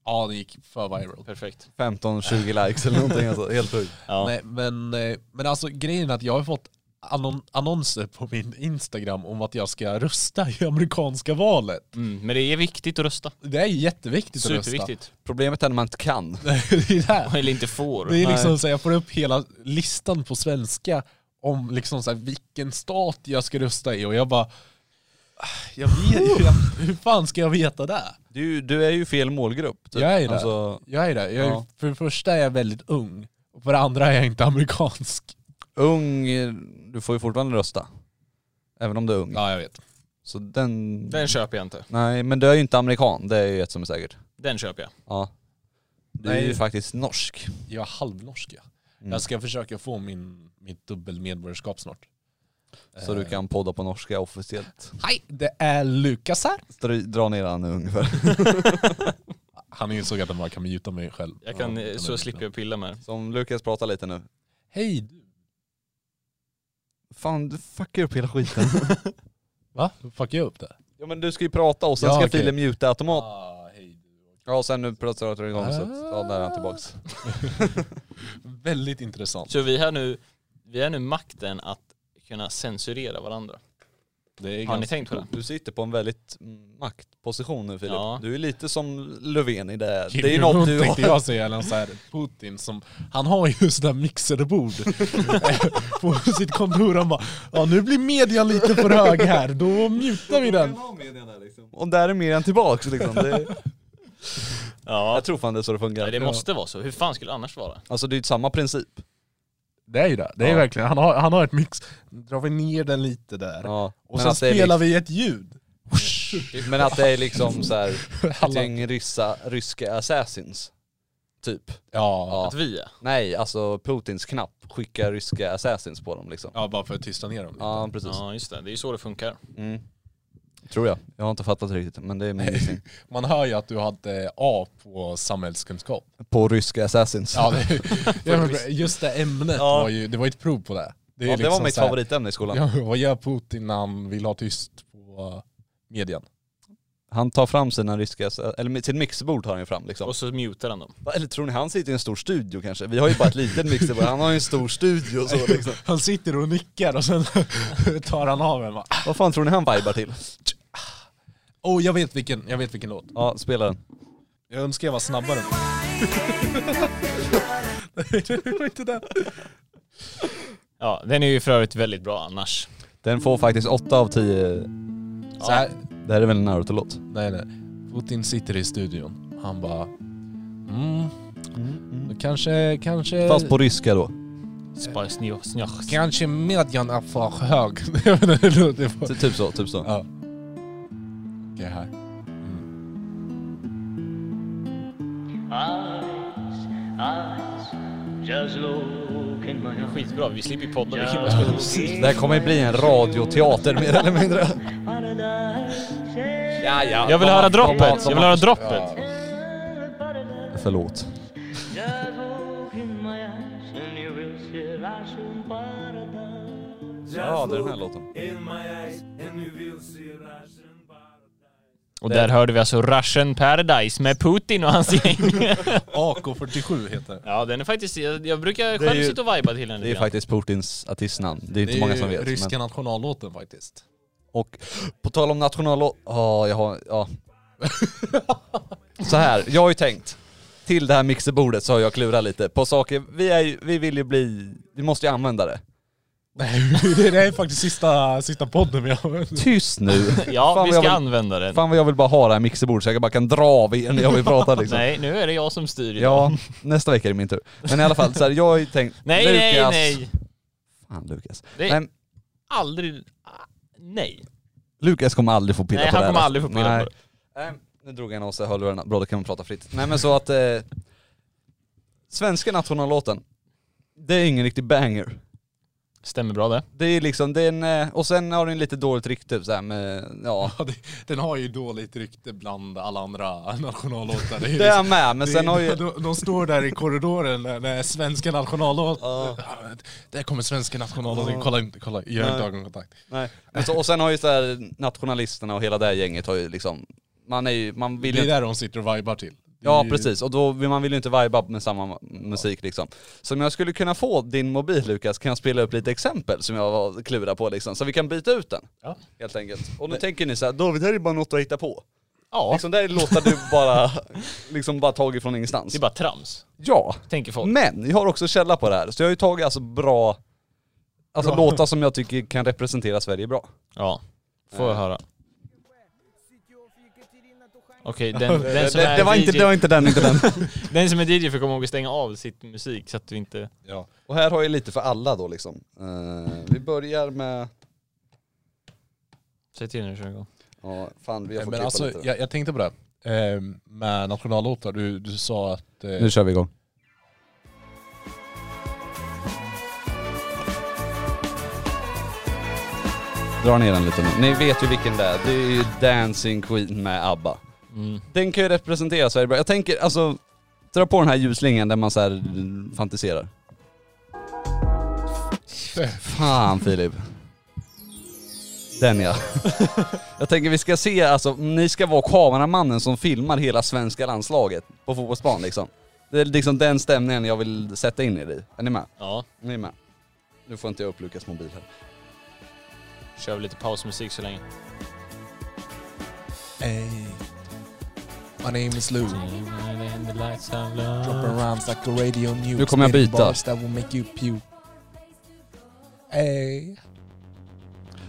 [SPEAKER 4] ja, det gick för viral.
[SPEAKER 1] Perfekt.
[SPEAKER 3] 15-20 likes eller någonting alltså, helt sjukt.
[SPEAKER 1] Ja.
[SPEAKER 4] Nej, men, eh, men alltså grejen är att jag har fått annon- annonser på min Instagram om att jag ska rösta i amerikanska valet.
[SPEAKER 1] Mm, men det är viktigt att rösta.
[SPEAKER 4] Det är jätteviktigt att rösta.
[SPEAKER 1] Superviktigt.
[SPEAKER 3] Problemet är när man inte kan.
[SPEAKER 4] [LAUGHS] det är det här.
[SPEAKER 1] Eller inte får.
[SPEAKER 4] Det är liksom så här, jag får upp hela listan på svenska om liksom så här, vilken stat jag ska rösta i och jag bara "Ah, jag vet, [LAUGHS] jag, hur fan ska jag veta det?
[SPEAKER 3] Du, du är ju fel målgrupp. typ.
[SPEAKER 4] Jag är det.
[SPEAKER 3] Alltså,
[SPEAKER 4] Jag är det. Jag är,
[SPEAKER 3] Ja.
[SPEAKER 4] För det första är jag väldigt ung och för det andra är jag inte amerikansk.
[SPEAKER 3] ung, eh, du får ju fortfarande rösta. Även om du är ung.
[SPEAKER 4] Ja, jag vet.
[SPEAKER 3] Så den...
[SPEAKER 1] Den köper jag inte.
[SPEAKER 3] Nej, men du är ju inte amerikan, det är ju ett som är säkert.
[SPEAKER 1] Den köper jag.
[SPEAKER 3] Ja. Du är
[SPEAKER 4] Nej.
[SPEAKER 3] ju faktiskt norsk.
[SPEAKER 4] Jag är halvnorsk. Ja.
[SPEAKER 3] Mm.
[SPEAKER 4] Jag ska försöka få min, mitt dubbelmedborgarskap snart.
[SPEAKER 3] Så
[SPEAKER 4] Eh.
[SPEAKER 3] du kan podda på norska officiellt.
[SPEAKER 4] Hej, det är Lukas här.
[SPEAKER 3] Dra, dra ner han nu ungefär.
[SPEAKER 4] Han insåg att han bara kan mjuta mig själv.
[SPEAKER 1] Jag kan,
[SPEAKER 4] Ja,
[SPEAKER 1] eh, så slipper jag pilla med det.
[SPEAKER 3] Som Lukas pratar lite nu.
[SPEAKER 4] Hej du.
[SPEAKER 3] Fan du fuckar upp hela
[SPEAKER 4] [LAUGHS]
[SPEAKER 3] skiten.
[SPEAKER 4] Va? Fuckar jag upp det?
[SPEAKER 3] ja men du ska ju prata och sen
[SPEAKER 4] Ja,
[SPEAKER 3] ska
[SPEAKER 4] okej.
[SPEAKER 3] filen mjuta automat.
[SPEAKER 4] Ah, hej du.
[SPEAKER 3] Ja och sen nu pratar du igång så att,
[SPEAKER 4] Ah.
[SPEAKER 3] ja, där är han tillbaks.
[SPEAKER 4] Väldigt intressant.
[SPEAKER 1] Så vi har nu, vi har nu makten att kunna censurera varandra.
[SPEAKER 4] Det är
[SPEAKER 1] Har ni tänkt på det?
[SPEAKER 3] Du sitter på en väldigt mm, maktposition nu Filip.
[SPEAKER 1] Ja.
[SPEAKER 3] Du är lite som Löfven i det här.
[SPEAKER 4] Kim
[SPEAKER 3] Det är något du
[SPEAKER 4] tänkte
[SPEAKER 3] har.
[SPEAKER 4] jag säga, eller så här, Putin som, han har ju sådana där [LAUGHS] mixerbord på sitt kontor, han bara ja nu blir media lite för hög här, då mutar vi den.
[SPEAKER 3] Och där är mer än tillbaks liksom.
[SPEAKER 4] [LAUGHS]
[SPEAKER 3] Det,
[SPEAKER 1] Ja.
[SPEAKER 3] jag tror fan det är så det fungerar.
[SPEAKER 1] Nej, det måste vara så. Hur fan skulle det annars vara?
[SPEAKER 3] Alltså det är ju samma princip.
[SPEAKER 4] Det är ju det, det är
[SPEAKER 3] Ja.
[SPEAKER 4] verkligen, han har, han har ett mix, drar vi ner den lite där,
[SPEAKER 3] Ja.
[SPEAKER 4] och
[SPEAKER 3] men
[SPEAKER 4] sen
[SPEAKER 3] att det är
[SPEAKER 4] spelar vi ett ljud.
[SPEAKER 3] liksom, Men att det är liksom så [LAUGHS] här, ett
[SPEAKER 4] Alla-
[SPEAKER 3] gäng ryssa, ryska assassins. Typ.
[SPEAKER 4] [LAUGHS] Ja.
[SPEAKER 1] Att vi är.
[SPEAKER 3] Nej, alltså Putins knapp skickar ryska assassins på dem liksom.
[SPEAKER 4] ja, bara för att tysta ner dem. lite.
[SPEAKER 3] Ja, precis.
[SPEAKER 1] Ja just det, det är ju så det funkar.
[SPEAKER 3] Mm. Tror jag. Jag har inte fattat riktigt, men det är min gissning.
[SPEAKER 4] Man hör ju att du hade A på [LAUGHS] samhällskunskap.
[SPEAKER 3] På ryska assassins.
[SPEAKER 4] Ja, det, [LAUGHS] jag vet inte, just det ämnet
[SPEAKER 3] Ja.
[SPEAKER 4] var ju, det var ju ett prov på det. Det, är
[SPEAKER 3] Ja, det var
[SPEAKER 4] liksom
[SPEAKER 3] mitt
[SPEAKER 4] så här-
[SPEAKER 3] favoritämne i skolan.
[SPEAKER 4] Ja, vad gör Putin när han vill ha tyst på eh, medien?
[SPEAKER 3] Han tar fram sina ryska, eller sitt mixerbord tar han ju fram liksom.
[SPEAKER 1] Och så mutar han dem.
[SPEAKER 3] Eller tror ni han sitter i en stor studio kanske? Vi har ju bara ett litet mixerbord, han har ju en stor studio så liksom.
[SPEAKER 4] [LAUGHS] Han sitter och nickar och sen [LAUGHS] tar han av en. va?
[SPEAKER 3] [LAUGHS] Vad fan tror ni han vibar till?
[SPEAKER 4] Oh, jag vet vilken, jag vet vilken låt.
[SPEAKER 3] Ja, spela den.
[SPEAKER 4] Jag önskar jag var snabbare. det var inte den.
[SPEAKER 1] Ja, den är ju för övrigt väldigt bra annars.
[SPEAKER 3] Den får faktiskt 8 av 10.
[SPEAKER 4] Så här,
[SPEAKER 3] Det här är väl en Naruto-låt?
[SPEAKER 4] nej, nej. Putin sitter i studion. Han bara... Mm, kanske, kanske...
[SPEAKER 3] Fast på ryska då.
[SPEAKER 1] Spar snjo, snjach.
[SPEAKER 4] Kanske medien är för hög. [LAUGHS] Jag vet inte, det låter på-
[SPEAKER 3] Ty- Typ så, typ så.
[SPEAKER 4] Ja. Okej, här. Mm.
[SPEAKER 1] Skitbra, vi slipper ju podda. Vi kan bara spela musik.
[SPEAKER 3] Det här kommer ju bli en radioteater mer eller mindre. Ja, ja.
[SPEAKER 1] Jag vill höra droppet, jag vill höra droppet.
[SPEAKER 3] Förlåt. Ja, det är den här låten.
[SPEAKER 1] Och där hörde vi alltså Russian Paradise med Putin och hans
[SPEAKER 3] [LAUGHS]
[SPEAKER 1] gäng.
[SPEAKER 4] AK47 heter det.
[SPEAKER 1] Ja den är faktiskt, jag, jag brukar själv
[SPEAKER 3] ju-
[SPEAKER 1] sitta och vibea till den
[SPEAKER 3] Det är
[SPEAKER 1] lite grann.
[SPEAKER 3] faktiskt Putins artistnamn. Det är inte
[SPEAKER 4] Det
[SPEAKER 3] många
[SPEAKER 4] är
[SPEAKER 3] som
[SPEAKER 4] ju
[SPEAKER 3] vet.
[SPEAKER 4] ryska
[SPEAKER 3] Men...
[SPEAKER 4] nationallåten [LAUGHS] faktiskt.
[SPEAKER 3] Och på tal om nationallåt... Ja, jag har... Ja. så här, jag har ju tänkt. Till det här mixerbordet så har jag klurat lite på saker. Vi, är ju, vi vill ju bli... Vi måste ju använda det.
[SPEAKER 4] det är faktiskt sista, sista podden vi har.
[SPEAKER 3] Tyst nu!
[SPEAKER 1] Ja,
[SPEAKER 3] Fan,
[SPEAKER 1] vi
[SPEAKER 3] vad jag
[SPEAKER 1] ska
[SPEAKER 3] vill,
[SPEAKER 1] använda den.
[SPEAKER 3] Fan vad jag vill bara ha det här mixerbordet så jag bara kan dra av er när jag vill prata liksom.
[SPEAKER 1] Nej, nu är det jag som styr idag.
[SPEAKER 3] Ja, nästa vecka är det min tur. Men i alla fall, så här, jag har ju tänkt...
[SPEAKER 1] [LAUGHS] Nej, nej,
[SPEAKER 3] Lukas,
[SPEAKER 1] nej.
[SPEAKER 3] Fan Lukas.
[SPEAKER 1] Det-
[SPEAKER 3] Nej,
[SPEAKER 1] Aldrig, ah, nej.
[SPEAKER 3] Lukas kommer aldrig få pilla
[SPEAKER 1] Nej,
[SPEAKER 3] på
[SPEAKER 1] han
[SPEAKER 3] det här,
[SPEAKER 1] kommer
[SPEAKER 3] alltså.
[SPEAKER 1] aldrig få pilla
[SPEAKER 3] Nej.
[SPEAKER 1] på
[SPEAKER 3] Nej, nu drog jag en av sig hörlurarna. Bra, då kan man prata fritt. Nej men så att... Eh, svenska nationallåten, det är ingen riktig banger.
[SPEAKER 1] Stämmer bra det.
[SPEAKER 3] Det är liksom, det är en, eh, och sen har den lite dåligt rykte så här med, ja.
[SPEAKER 4] Ja, det, den har ju dåligt rykte bland alla andra nationallåtar. Det är ju liksom-
[SPEAKER 3] Det är jag med, men
[SPEAKER 4] det är-
[SPEAKER 3] sen har ju...
[SPEAKER 4] de, de står där i korridoren när, när svenska nationallåten...
[SPEAKER 3] Ja.
[SPEAKER 4] Där kommer svenska nationallåten, kolla inte, kolla, gör inte
[SPEAKER 3] Nej.
[SPEAKER 4] ögonkontakt.
[SPEAKER 3] Nej. Men så, och sen har ju så här nationalisterna och hela det här gänget har ju liksom, man är ju, man vill
[SPEAKER 4] Det
[SPEAKER 3] ju
[SPEAKER 4] är
[SPEAKER 3] inte,
[SPEAKER 4] där de sitter och vibar till. Det är
[SPEAKER 3] Ja
[SPEAKER 4] ju-
[SPEAKER 3] precis, och då vill man vill ju inte vibea med samma musik liksom. Så om jag skulle kunna få din mobil Lukas, kan jag spela upp lite exempel som jag var klura på liksom, så vi kan byta ut den.
[SPEAKER 1] Ja.
[SPEAKER 3] Helt enkelt. Och nu tänker ni så här, David det här är ju bara något att hitta på.
[SPEAKER 1] Ja,
[SPEAKER 3] Liksom det här låtar du bara, liksom bara tagit från ingenstans.
[SPEAKER 1] det är bara trams,
[SPEAKER 3] Ja.
[SPEAKER 1] tänker folk.
[SPEAKER 3] Men jag har också källa på det här, så jag har ju tagit alltså bra, alltså låtar som jag tycker kan representera Sverige bra.
[SPEAKER 1] Ja, får
[SPEAKER 3] Eh.
[SPEAKER 1] jag höra. Okej,
[SPEAKER 3] [LAUGHS]
[SPEAKER 1] den, den som är
[SPEAKER 3] det, det, var
[SPEAKER 1] DJ,
[SPEAKER 3] inte, det var inte den, inte den.
[SPEAKER 1] den som är DJ får komma ihåg att stänga av sitt musik så att du inte...
[SPEAKER 4] Ja.
[SPEAKER 3] [LAUGHS] Och här har jag lite för alla då liksom. Eh, vi börjar med,
[SPEAKER 1] Säg till när du kör igång.
[SPEAKER 3] ja fan vi har fått
[SPEAKER 4] Men
[SPEAKER 3] klippa
[SPEAKER 4] alltså,
[SPEAKER 3] lite.
[SPEAKER 4] jag, jag tänkte på det. Ehm, med nationallåtar, du, du sa att... eh,
[SPEAKER 3] Nu kör vi igång. Dra ner den lite nu. Ni vet ju vilken det är. Det är ju Dancing Queen med ABBA. Den kan ju representera Sverige bra. Jag tänker alltså, dra på den här ljusslingan där man så här mm, fantiserar. Fan Filip. Den ja. Jag tänker vi ska se, alltså ni ska vara kameramannen som filmar hela svenska landslaget på fotbollsplan liksom. Det är liksom den stämningen jag vill sätta in er i. Är ni med?
[SPEAKER 1] Ja,
[SPEAKER 3] Ni är med? Nu får inte jag upp Lukas mobil här.
[SPEAKER 1] kör vi lite pausmusik så länge.
[SPEAKER 4] Hey. My name is Lou. Dropping rhymes like a radio news.
[SPEAKER 3] Nu kommer jag
[SPEAKER 4] Spinning
[SPEAKER 3] byta.
[SPEAKER 4] bars that will make you puke. Hey.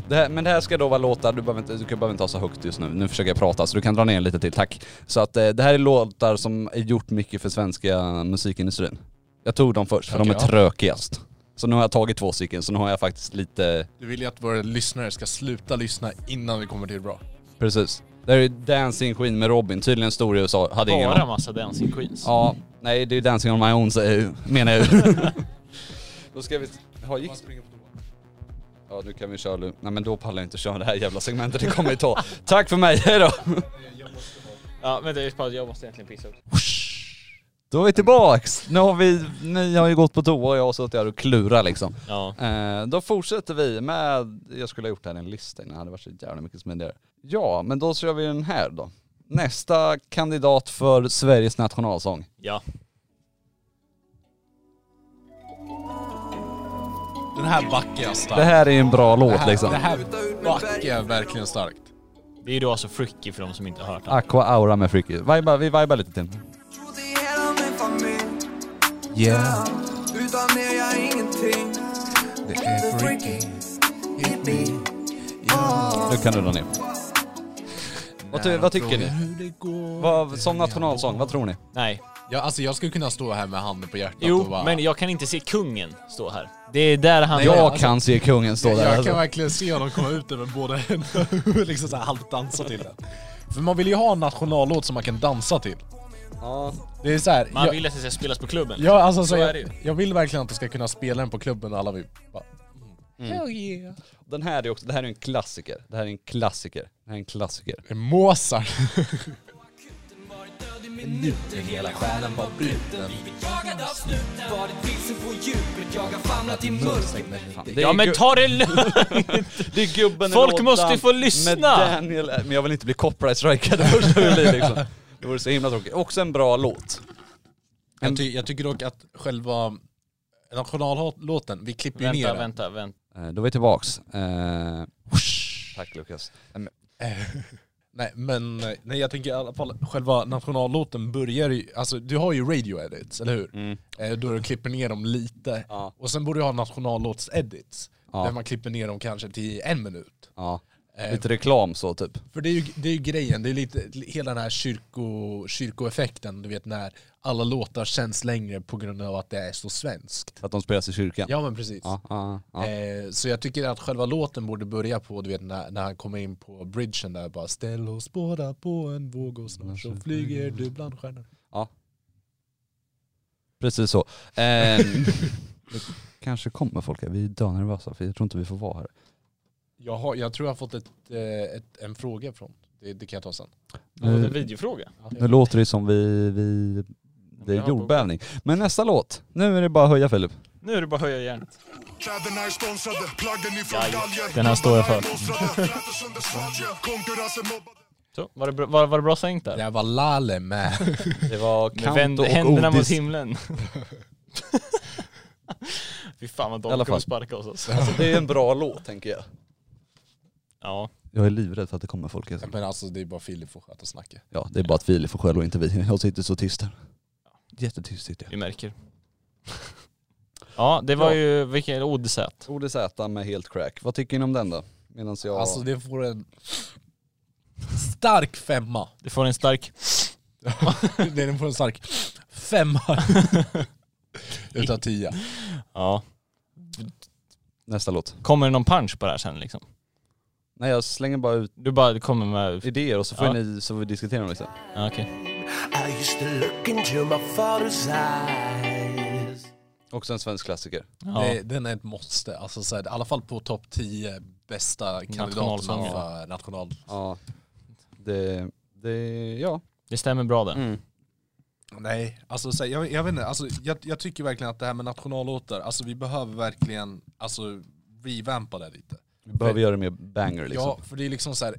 [SPEAKER 3] Det här, men det här ska då vara låtar, du behöver inte, du kan- behöver inte ha så högt just nu. Nu försöker jag prata så du kan dra ner lite till, tack. Så att eh, det här är låtar som är gjort mycket för svenska musikindustrin. Jag tog dem först för de är
[SPEAKER 4] Okej, ja.
[SPEAKER 3] trökigast. Så nu har jag tagit två stycken, så nu har jag faktiskt lite
[SPEAKER 4] Du vill ju att våra lyssnare ska sluta lyssna innan vi kommer till bra.
[SPEAKER 3] Precis. Det är ju Dancing Queen med Robin, tydligen stor i USA. Hade ingen
[SPEAKER 1] Bara
[SPEAKER 3] aning.
[SPEAKER 1] massa Dancing Queens.
[SPEAKER 3] Ja, nej det är ju Dancing on my own säger jag,
[SPEAKER 1] [LAUGHS]
[SPEAKER 3] menar jag Då ska vi... Ja, gick... ja nu kan vi köra nu. Nej men då pallar jag inte köra det här jävla segmentet, det kommer ju ta.
[SPEAKER 1] [LAUGHS]
[SPEAKER 3] Tack för mig, hejdå!
[SPEAKER 1] Ja, vänta jag bara- jag måste egentligen pissa också.
[SPEAKER 3] Då är vi tillbaks! Nu har vi, ni har ju gått på toa och jag har suttit här och klurat liksom.
[SPEAKER 1] Ja.
[SPEAKER 3] Eh, då fortsätter vi med, jag skulle ha gjort det här i en lista innan, det hade varit så jävla mycket smidigare. Ja, men då kör vi den här då. Nästa kandidat för Sveriges nationalsång.
[SPEAKER 1] Ja.
[SPEAKER 4] Den här backen är stark.
[SPEAKER 3] Det här är ju en bra låt liksom.
[SPEAKER 4] Det här backen är verkligen starkt.
[SPEAKER 1] Det är ju då alltså Fricky för de som inte har hört den.
[SPEAKER 3] Aqua Aura med Fricky. Viba, vi vibar lite till.
[SPEAKER 6] Trodde hela min familj.
[SPEAKER 4] Yeah,
[SPEAKER 6] Utan er jag ingenting.
[SPEAKER 4] det är freaky. Hit me. Yeah.
[SPEAKER 3] Nu kan du dra ner. Vad, ty, vad tycker ni?
[SPEAKER 4] Hur det går.
[SPEAKER 3] Vad, som nationalsång, vad tror ni?
[SPEAKER 1] Nej.
[SPEAKER 4] Ja, alltså jag skulle kunna stå här med handen på hjärtat och
[SPEAKER 1] Jo,
[SPEAKER 4] bara...
[SPEAKER 1] men jag kan inte se kungen stå här. Det är där han...
[SPEAKER 3] Jag
[SPEAKER 1] är.
[SPEAKER 3] kan se kungen stå där
[SPEAKER 4] jag
[SPEAKER 3] alltså.
[SPEAKER 4] kan verkligen se honom komma ut där med båda händerna och [LAUGHS] liksom så här halvt dansa till den. För man vill ju ha en nationallåt som man kan dansa till.
[SPEAKER 3] Ja.
[SPEAKER 4] Det är så här,
[SPEAKER 1] Man
[SPEAKER 4] jag,
[SPEAKER 1] vill att det ska spelas på klubben.
[SPEAKER 4] jag, alltså, så
[SPEAKER 1] är
[SPEAKER 4] jag,
[SPEAKER 1] det ju.
[SPEAKER 4] jag vill verkligen att du ska kunna spela den på klubben och alla vill bara... Hell yeah.
[SPEAKER 3] Den här är också, det här är en klassiker. Det här är en klassiker. Det här är en klassiker.
[SPEAKER 4] Det är Mozart. [LAUGHS]
[SPEAKER 3] Det är
[SPEAKER 1] Ja men
[SPEAKER 3] gu-
[SPEAKER 1] ta det
[SPEAKER 3] [LAUGHS]
[SPEAKER 1] lugnt!
[SPEAKER 3] det är gubben i
[SPEAKER 1] Folk
[SPEAKER 3] lådan
[SPEAKER 1] måste få lyssna.
[SPEAKER 3] Med Daniel, Äh, men jag vill inte bli copyright-strikad [LAUGHS] det första vi blir liksom. Det vore så himla tråkigt. Också en bra låt.
[SPEAKER 4] Jag, ty, jag tycker dock att själva nationallåten, vi klipper ju ner
[SPEAKER 1] vänta,
[SPEAKER 4] den.
[SPEAKER 1] vänta, vänta.
[SPEAKER 3] Eh, Då är vi tillbaks. Eh, tack Lukas. Nej, men-
[SPEAKER 4] Nej men, eh, nej jag tänker i alla fall själva nationallåten börjar ju, alltså du har ju radio edits, eller hur? Eh, då du klipper ner dem lite.
[SPEAKER 3] Mm. Ja.
[SPEAKER 4] Och sen borde du ha nationallåts edits.
[SPEAKER 3] Ja.
[SPEAKER 4] Där man klipper ner dem kanske till en minut.
[SPEAKER 3] Ja.
[SPEAKER 4] Eh,
[SPEAKER 3] Lite reklam så typ.
[SPEAKER 4] För det är ju, det är ju grejen, det är lite hela den här kyrko, kyrkoeffekten, du vet när alla låtar känns längre på grund av att det är så svenskt.
[SPEAKER 3] För att de spelas i kyrkan.
[SPEAKER 4] Ja men precis.
[SPEAKER 3] Ja, ja, ja.
[SPEAKER 4] Eh, så jag tycker att själva låten borde börja på, du vet när, när han kommer in på bridgen där bara Ställ oss båda på en våg och snart så flyger du bland stjärnorna.
[SPEAKER 3] Precis så. Eh, kanske kommer folk här. Vi är dönervösa för jag tror inte vi får vara här.
[SPEAKER 4] Jag, har, jag tror jag har fått ett, eh, ett, en fråga från. Det, det kan jag ta sen.
[SPEAKER 1] Det
[SPEAKER 3] Mm.
[SPEAKER 1] var en videofråga.
[SPEAKER 3] Nu låter det som vi, vi det är jordbävning. Men nästa låt, nu är det bara att höja Filip.
[SPEAKER 1] Nu är det bara att höja järnet.
[SPEAKER 7] Kläderna är sponsrade, plaggen ifrån
[SPEAKER 1] Ja, ja.
[SPEAKER 7] galgen
[SPEAKER 1] Den här står jag för.
[SPEAKER 7] Konkurrensen mobbade
[SPEAKER 1] Så, var det bra, var, var det bra sänkt där?
[SPEAKER 4] Det här var Lale med. [LAUGHS]
[SPEAKER 3] Det var
[SPEAKER 1] Vänd
[SPEAKER 3] och
[SPEAKER 1] händerna mot
[SPEAKER 3] Odis. Alltså, [LAUGHS]
[SPEAKER 1] himlen. Fy fan vad
[SPEAKER 3] I alla
[SPEAKER 1] de
[SPEAKER 3] fall.
[SPEAKER 1] kommer sparka oss alltså.
[SPEAKER 3] Alltså, det är en bra låt tänker jag.
[SPEAKER 1] Ja,
[SPEAKER 3] Jag är livrädd för att det kommer folk. här sen.
[SPEAKER 4] Men alltså det är bara Filip som sköter snacket.
[SPEAKER 3] Ja, det är bara att Filip får skäll och inte vi. Jag sitter så tyst här. Jättetyst sitter jag.
[SPEAKER 1] vi märker. [LAUGHS] Ja, det var
[SPEAKER 3] Ja.
[SPEAKER 1] ju, vilken odisät.
[SPEAKER 3] Ode Z med Helt Crack. Vad tycker ni om den då? Medan jag...
[SPEAKER 4] Alltså det får en stark femma.
[SPEAKER 1] Det får en stark
[SPEAKER 4] [LAUGHS] Nej, den får en stark femma. Utav tio.
[SPEAKER 1] Ja.
[SPEAKER 3] Nästa låt.
[SPEAKER 1] Kommer det någon punch på det här sen liksom?
[SPEAKER 3] Nej jag slänger bara ut
[SPEAKER 1] Du bara kommer med...
[SPEAKER 3] idéer och så får
[SPEAKER 1] Ja.
[SPEAKER 3] ni, så får vi diskutera dem liksom.
[SPEAKER 1] Ja, Okej.
[SPEAKER 8] I used to look into my father's eyes.
[SPEAKER 3] Också en svensk klassiker.
[SPEAKER 1] Ja.
[SPEAKER 4] Det, den är ett måste. Alltså, så här, I alla fall på topp 10 bästa kandidaterna
[SPEAKER 1] Nationalsånger.
[SPEAKER 4] för national.
[SPEAKER 3] Ja. Det, det, ja.
[SPEAKER 1] Det stämmer bra
[SPEAKER 3] Mm.
[SPEAKER 1] det.
[SPEAKER 4] Nej, alltså så här, jag, jag vet inte, alltså, jag, jag tycker verkligen att det här med nationallåtar, alltså vi behöver verkligen alltså, revampa det lite.
[SPEAKER 3] Vi behöver göra det mer banger liksom.
[SPEAKER 4] Ja, för det är liksom så här,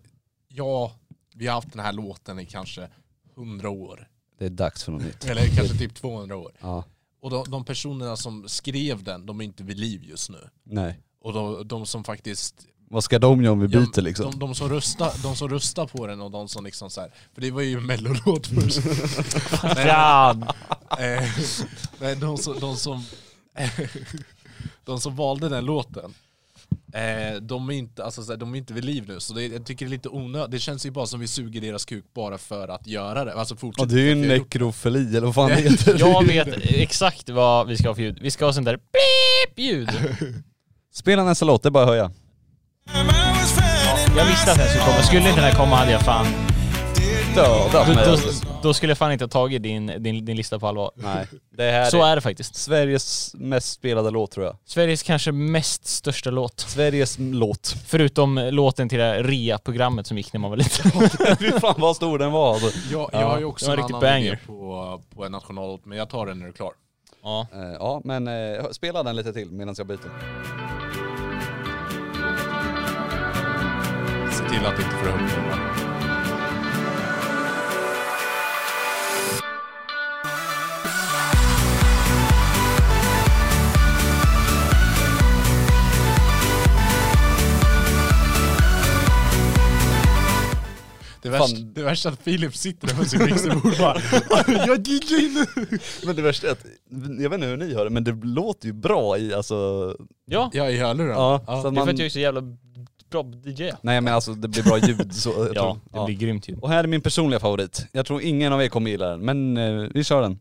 [SPEAKER 4] ja, vi har haft den här låten i kanske 100 år,
[SPEAKER 3] Det är dags för något nytt.
[SPEAKER 4] eller kanske typ 200 år.
[SPEAKER 3] Ja.
[SPEAKER 4] Och de, de personerna som skrev den, de är inte vid liv just nu.
[SPEAKER 3] Nej.
[SPEAKER 4] Och de, de som faktiskt
[SPEAKER 3] Vad ska de göra om vi
[SPEAKER 4] Ja,
[SPEAKER 3] byter liksom?
[SPEAKER 4] De, de, som röstar, de som röstar på den och de som liksom så här, för det var ju en
[SPEAKER 3] [LAUGHS]
[SPEAKER 4] mellolåt först. Nej,
[SPEAKER 1] Ja.
[SPEAKER 4] eh, nej, de som, de som, [LAUGHS] de som valde den låten, eh, de, är inte, alltså, så här, de är inte vid liv nu. Så det, jag tycker det är lite onödigt. Det känns ju bara som vi suger deras kuk bara för att göra det. Alltså
[SPEAKER 3] Ja,
[SPEAKER 4] fortsätta.
[SPEAKER 3] det är ju en nekrofili eller vad fan
[SPEAKER 1] [LAUGHS]
[SPEAKER 3] det heter.
[SPEAKER 1] [LAUGHS] Jag vet exakt vad vi ska ha för ljud. Vi ska ha sånt där beep-ljud.
[SPEAKER 3] Spela nästa låt, det är bara att höja.
[SPEAKER 4] Oh,
[SPEAKER 1] Jag visste att den skulle komma. Skulle inte den här komma hade jag fan...
[SPEAKER 3] Döda
[SPEAKER 1] Då, då,
[SPEAKER 3] mig.
[SPEAKER 1] då skulle jag fan inte ha tagit din, din, din lista på allvar.
[SPEAKER 3] Nej. Det här
[SPEAKER 1] Så
[SPEAKER 3] är
[SPEAKER 1] är det faktiskt.
[SPEAKER 3] Sveriges mest spelade låt tror jag.
[SPEAKER 1] Sveriges kanske mest största låt.
[SPEAKER 3] Sveriges låt. [LAUGHS]
[SPEAKER 1] Förutom låten till det här REA-programmet som gick när man var liten.
[SPEAKER 3] Fy fan vad stor den var alltså.
[SPEAKER 4] Jag, jag har ju också
[SPEAKER 1] det var
[SPEAKER 4] en
[SPEAKER 1] riktigt
[SPEAKER 4] annan
[SPEAKER 1] banger.
[SPEAKER 4] idé på, på en nationallåt, men jag tar den när du är klar.
[SPEAKER 1] Ja.
[SPEAKER 3] Eh, Ja men eh, spela den lite till medan jag byter.
[SPEAKER 4] Se till att inte få upp den. Det värsta,
[SPEAKER 3] Fan.
[SPEAKER 4] det värsta är att Filip sitter där med sin mixerbord och bara Jag DJ nu!
[SPEAKER 3] Men det värsta är att, jag vet inte hur ni hör det men det låter ju bra i alltså...
[SPEAKER 1] ja.
[SPEAKER 4] Ja i hörlurarna.
[SPEAKER 3] Ja, så att
[SPEAKER 1] Det är
[SPEAKER 3] man...
[SPEAKER 1] för att jag är så jävla bra DJ.
[SPEAKER 3] Nej men alltså det blir bra ljud så. jag
[SPEAKER 1] Ja,
[SPEAKER 3] tror-
[SPEAKER 1] det blir grymt ljud.
[SPEAKER 3] Och här är min personliga favorit. Jag tror ingen av er kommer gilla den men eh, vi kör den.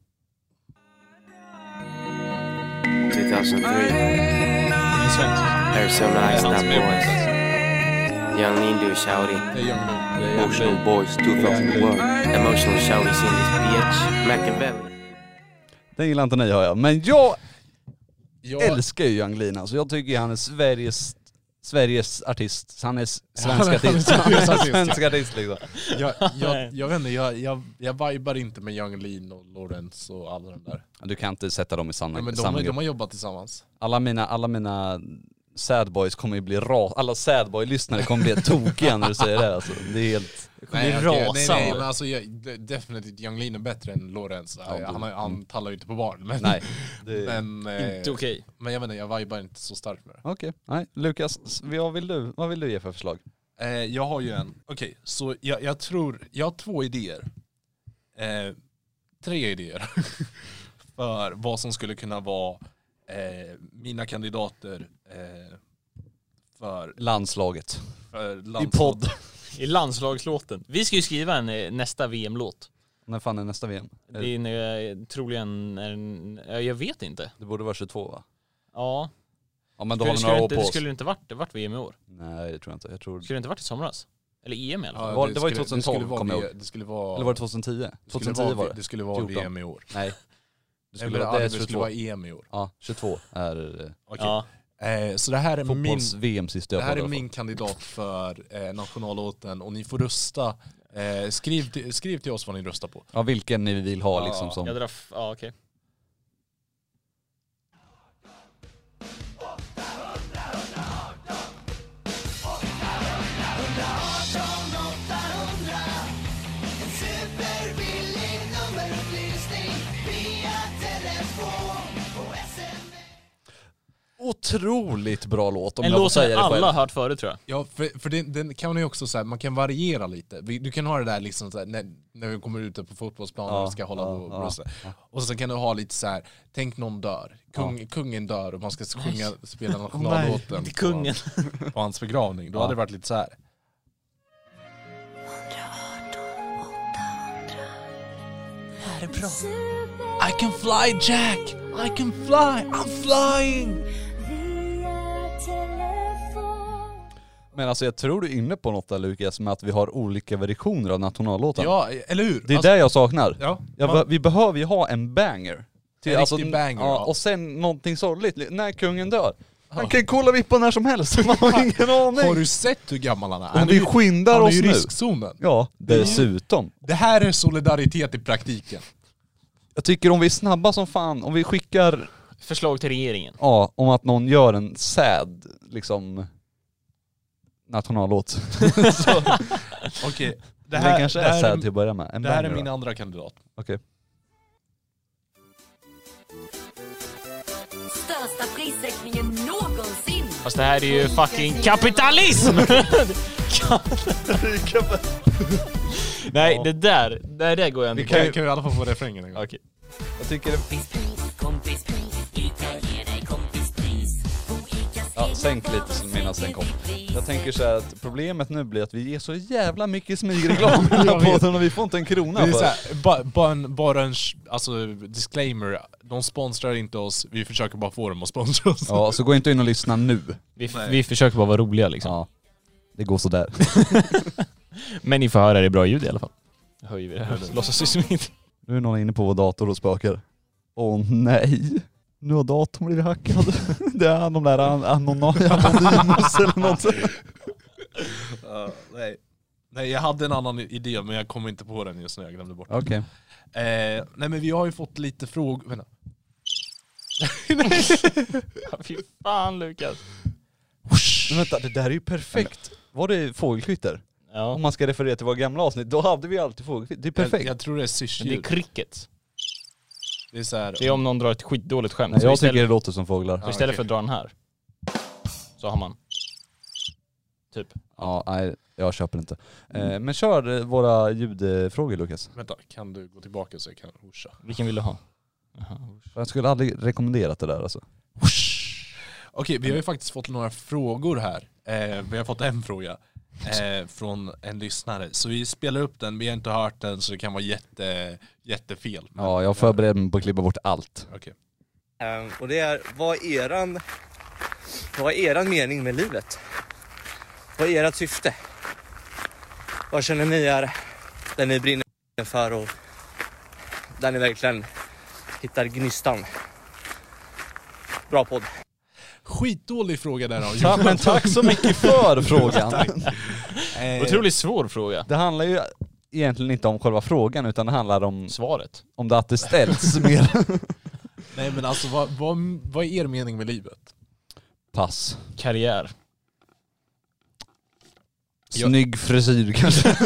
[SPEAKER 9] 2003,
[SPEAKER 1] Det är svenskt.
[SPEAKER 9] Arizona Ice Top Boys, Young Nindu Shouty, Emotional Boys 2001, Emotional Shouties in this bitch, Machiavelli.
[SPEAKER 3] Den gillar inte ni hör jag. Men jag
[SPEAKER 4] Jag,
[SPEAKER 3] älskar ju Young Lean alltså. Jag tycker han är Sveriges, Sveriges artist. Han är s- svensk
[SPEAKER 4] han är
[SPEAKER 3] artist. Han
[SPEAKER 4] Sveriges
[SPEAKER 3] är
[SPEAKER 4] artist, ja.
[SPEAKER 3] svensk artist liksom.
[SPEAKER 4] jag, jag, jag vet inte, jag, jag, jag vibar inte med Young Lean och Lawrence och alla de där.
[SPEAKER 3] Du kan inte sätta dem i samma,
[SPEAKER 4] Ja, men de,
[SPEAKER 3] samma
[SPEAKER 4] har- de
[SPEAKER 3] grupp.
[SPEAKER 4] har jobbat tillsammans.
[SPEAKER 3] Alla mina, alla mina sad boys kommer ju bli ras... Alla sad boy lyssnare kommer bli helt tokiga när du säger det alltså. Det är helt...
[SPEAKER 1] kommer bli
[SPEAKER 4] okej, nej,
[SPEAKER 1] rasande.
[SPEAKER 4] nej, men alltså jag, de- definitivt Young Lean är bättre än Lorenz.
[SPEAKER 3] du-
[SPEAKER 4] han, har- han talar ju inte på barn. Men,
[SPEAKER 3] mm. Nej. Det...
[SPEAKER 4] [LAUGHS] men, eh,
[SPEAKER 1] Inte okej.
[SPEAKER 4] men jag vet inte, jag vibar inte så starkt med det.
[SPEAKER 3] Okej, nej. Lukas, s- vad vill, du, vad vill du ge för förslag?
[SPEAKER 4] Eh, jag har ju en, okej, så jag, jag tror, jag har två idéer. Eh, tre idéer. [LAUGHS] för vad som skulle kunna vara eh, mina kandidater eh, för,
[SPEAKER 3] Landslaget.
[SPEAKER 4] för
[SPEAKER 3] I
[SPEAKER 4] landslag-
[SPEAKER 3] podd.
[SPEAKER 1] I landslagslåten. Vi ska ju skriva en eh, nästa VM-låt.
[SPEAKER 3] [LAUGHS] När fan är nästa VM?
[SPEAKER 1] Det är en, eh, troligen en, ja, jag vet inte.
[SPEAKER 3] Det borde vara 22 va?
[SPEAKER 1] Ja,
[SPEAKER 3] Ja men då
[SPEAKER 1] skulle,
[SPEAKER 3] har vi
[SPEAKER 1] skulle,
[SPEAKER 3] några
[SPEAKER 1] det
[SPEAKER 3] år
[SPEAKER 1] inte,
[SPEAKER 3] på oss.
[SPEAKER 1] skulle det inte varit, det vart VM i år?
[SPEAKER 3] Nej det tror jag inte. Jag tror...
[SPEAKER 1] Skulle det inte varit i somras? Eller EM i alla fall?
[SPEAKER 4] Ja,
[SPEAKER 3] Var- det var ju
[SPEAKER 4] skulle-
[SPEAKER 3] 2012,
[SPEAKER 4] skulle vara
[SPEAKER 3] kommer jag
[SPEAKER 4] V-
[SPEAKER 3] ihåg.
[SPEAKER 4] Det skulle vara...
[SPEAKER 3] Eller var det 2010?
[SPEAKER 4] skulle
[SPEAKER 3] 2010 var
[SPEAKER 4] Det
[SPEAKER 3] det.
[SPEAKER 4] skulle vara
[SPEAKER 3] 14.
[SPEAKER 4] VM i år.
[SPEAKER 3] Nej. Det
[SPEAKER 4] Nej,
[SPEAKER 3] skulle,
[SPEAKER 4] men
[SPEAKER 3] vara- det är
[SPEAKER 4] Albert skulle
[SPEAKER 3] 22.
[SPEAKER 4] vara EM i år.
[SPEAKER 3] Ja, 22 är eh,
[SPEAKER 4] Okej.
[SPEAKER 1] Ja.
[SPEAKER 4] Eh, så det här är min,
[SPEAKER 3] fotbolls-VM sista
[SPEAKER 4] det
[SPEAKER 3] jag
[SPEAKER 4] här är
[SPEAKER 3] kollade
[SPEAKER 4] min kandidat för eh, nationallåten och ni får rösta. Eh, skriv, till, skriv till oss vad ni röstar på.
[SPEAKER 3] Ja, vilken ni vill ha liksom som...
[SPEAKER 1] Jag drar, f- ja okej.
[SPEAKER 3] Otroligt bra låt om
[SPEAKER 1] En
[SPEAKER 3] jag får
[SPEAKER 1] låt som
[SPEAKER 3] säga det
[SPEAKER 1] alla
[SPEAKER 3] själv.
[SPEAKER 1] har hört förut tror jag.
[SPEAKER 4] Ja, för, för den, den kan man ju också så här, man kan variera lite. Vi- Du kan ha det där liksom så här, när, när vi kommer ut på fotbollsplanen
[SPEAKER 3] Ja,
[SPEAKER 4] och ska hålla
[SPEAKER 3] ja,
[SPEAKER 4] på och
[SPEAKER 3] ja,
[SPEAKER 4] brösta. Och sen kan du ha lite så här, tänk någon dör, Kung, kungen dör och man ska sjunga, spela nationallåten
[SPEAKER 1] Inte kungen.
[SPEAKER 4] På, på hans begravning. Då hade det varit lite så här. Här är bra. I can fly Jack! I can fly! I'm flying!
[SPEAKER 3] Men alltså jag tror du är inne på något där Lukas, med att vi har olika versioner av nationallåten.
[SPEAKER 4] Ja, eller hur?
[SPEAKER 3] Det är
[SPEAKER 4] Alltså,
[SPEAKER 3] det jag saknar.
[SPEAKER 4] Ja,
[SPEAKER 3] Jag
[SPEAKER 4] man-
[SPEAKER 3] be- vi behöver ju ha en banger. Till, alltså,
[SPEAKER 4] En riktig banger, ja.
[SPEAKER 3] ja. Och sen någonting sorgligt, li- när kungen dör. Han kan ju kolla vippa när som helst, man
[SPEAKER 4] [LAUGHS]
[SPEAKER 3] har ingen aning.
[SPEAKER 4] Har du sett hur gammal han är?
[SPEAKER 3] Om
[SPEAKER 4] Han är
[SPEAKER 3] vi
[SPEAKER 4] ju-
[SPEAKER 3] skyndar
[SPEAKER 4] han är
[SPEAKER 3] oss
[SPEAKER 4] ju i
[SPEAKER 3] nu.
[SPEAKER 4] riskzonen.
[SPEAKER 3] Ja, dessutom.
[SPEAKER 4] Det här är solidaritet i praktiken.
[SPEAKER 3] Jag tycker om vi är snabba som fan, om vi skickar,
[SPEAKER 1] Förslag till regeringen.
[SPEAKER 3] ja, om att någon gör en sad, liksom, nationallåt. Så,
[SPEAKER 4] Okej,
[SPEAKER 3] det här, kanske
[SPEAKER 4] det
[SPEAKER 3] är
[SPEAKER 4] här
[SPEAKER 3] sad till att börja med. En
[SPEAKER 4] det här är
[SPEAKER 3] banger
[SPEAKER 4] min
[SPEAKER 3] då.
[SPEAKER 4] andra kandidat.
[SPEAKER 3] Okej.
[SPEAKER 10] Största prissänkningen någonsin.
[SPEAKER 1] Fast det här är ju fucking [LAUGHS] kapitalism! Nej det där, nej det går jag
[SPEAKER 4] Vi
[SPEAKER 1] inte
[SPEAKER 4] kan,
[SPEAKER 1] på.
[SPEAKER 4] kan vi i alla fall få refrängen en gång?
[SPEAKER 1] Okej.
[SPEAKER 3] Jag tycker det... Ja, sänk lite så medan den kommer. Jag tänker så här att problemet nu blir att vi ger så jävla mycket
[SPEAKER 4] [LAUGHS]
[SPEAKER 3] smygreklam på
[SPEAKER 4] Jag vet.
[SPEAKER 3] den och vi får inte en krona
[SPEAKER 4] Det är
[SPEAKER 3] för
[SPEAKER 4] så
[SPEAKER 3] det.
[SPEAKER 4] här, ba, bara en, bara en sh- alltså, disclaimer, de sponsrar inte oss, vi försöker bara få dem att sponsra oss. [LAUGHS]
[SPEAKER 3] Ja, så gå inte in och lyssna nu.
[SPEAKER 1] Vi, vi försöker bara vara roliga liksom.
[SPEAKER 3] Ja. Det går sådär.
[SPEAKER 1] Men ni får höra det bra ljud i alla fall. Nu höjer [LAUGHS] vi det här. Låtsas vi som [LAUGHS] inte...
[SPEAKER 3] Nu är någon inne på vår dator och spökar. Åh nej! Nu har datorn blivit hackad. [LAUGHS] Det är de där an- [LAUGHS] Anonymous eller något.
[SPEAKER 4] nej. nej, jag hade en annan idé men jag kom inte på den just nu, jag glömde bort den.
[SPEAKER 3] Okej.
[SPEAKER 4] Eh, nej men vi har ju fått lite frågor, vänta.
[SPEAKER 1] [LAUGHS] Fy fan Lukas.
[SPEAKER 3] Men Vänta, det där är ju perfekt. Var det fågelkvitter?
[SPEAKER 1] Ja.
[SPEAKER 3] Om man ska referera till våra gamla avsnitt, då hade vi alltid fågelkvitter. Det är perfekt.
[SPEAKER 4] Jag, jag tror det är
[SPEAKER 1] Men det är
[SPEAKER 4] syrsljud.
[SPEAKER 1] cricket.
[SPEAKER 4] Det är så här,
[SPEAKER 1] Det är om någon drar ett skitdåligt skämt.
[SPEAKER 3] Nej,
[SPEAKER 1] Så
[SPEAKER 3] jag
[SPEAKER 1] istället,
[SPEAKER 3] tycker det låter som fåglar.
[SPEAKER 1] så istället för att dra den här. Så har man. Typ.
[SPEAKER 3] Ja, nej, jag köper inte. Eh, men kör eh, våra ljudfrågor Lukas.
[SPEAKER 4] vänta, kan du gå tillbaka så jag kan husha?
[SPEAKER 1] Vilken vill du ha?
[SPEAKER 3] Jag skulle aldrig rekommenderat det där alltså.
[SPEAKER 4] Okej, vi har ju faktiskt fått några frågor här. Eh, vi har fått en fråga eh, från en lyssnare. Så vi spelar upp den, vi har inte hört den så det kan vara jätte, jättefel. Men,
[SPEAKER 3] Ja, jag förbereder mig på att klippa bort allt.
[SPEAKER 4] okej.
[SPEAKER 9] Ehm, Och det är, vad är eran, vad är eran mening med livet? Vad är ert syfte? Vad känner ni är där ni brinner för och där ni verkligen hittar gnistan? Bra podd.
[SPEAKER 4] Skitdålig fråga där av
[SPEAKER 3] Tack, men [LAUGHS] tack så mycket för [LAUGHS] frågan.
[SPEAKER 4] eh,
[SPEAKER 1] Otroligt svår fråga.
[SPEAKER 3] Det handlar ju egentligen inte om själva frågan utan det handlar om,
[SPEAKER 1] Svaret.
[SPEAKER 3] om det att det [LAUGHS] ställs mer.
[SPEAKER 4] Nej men alltså vad, vad, vad är er mening med livet?
[SPEAKER 3] Pass.
[SPEAKER 1] Karriär.
[SPEAKER 3] Snygg frisyr [LAUGHS] kanske.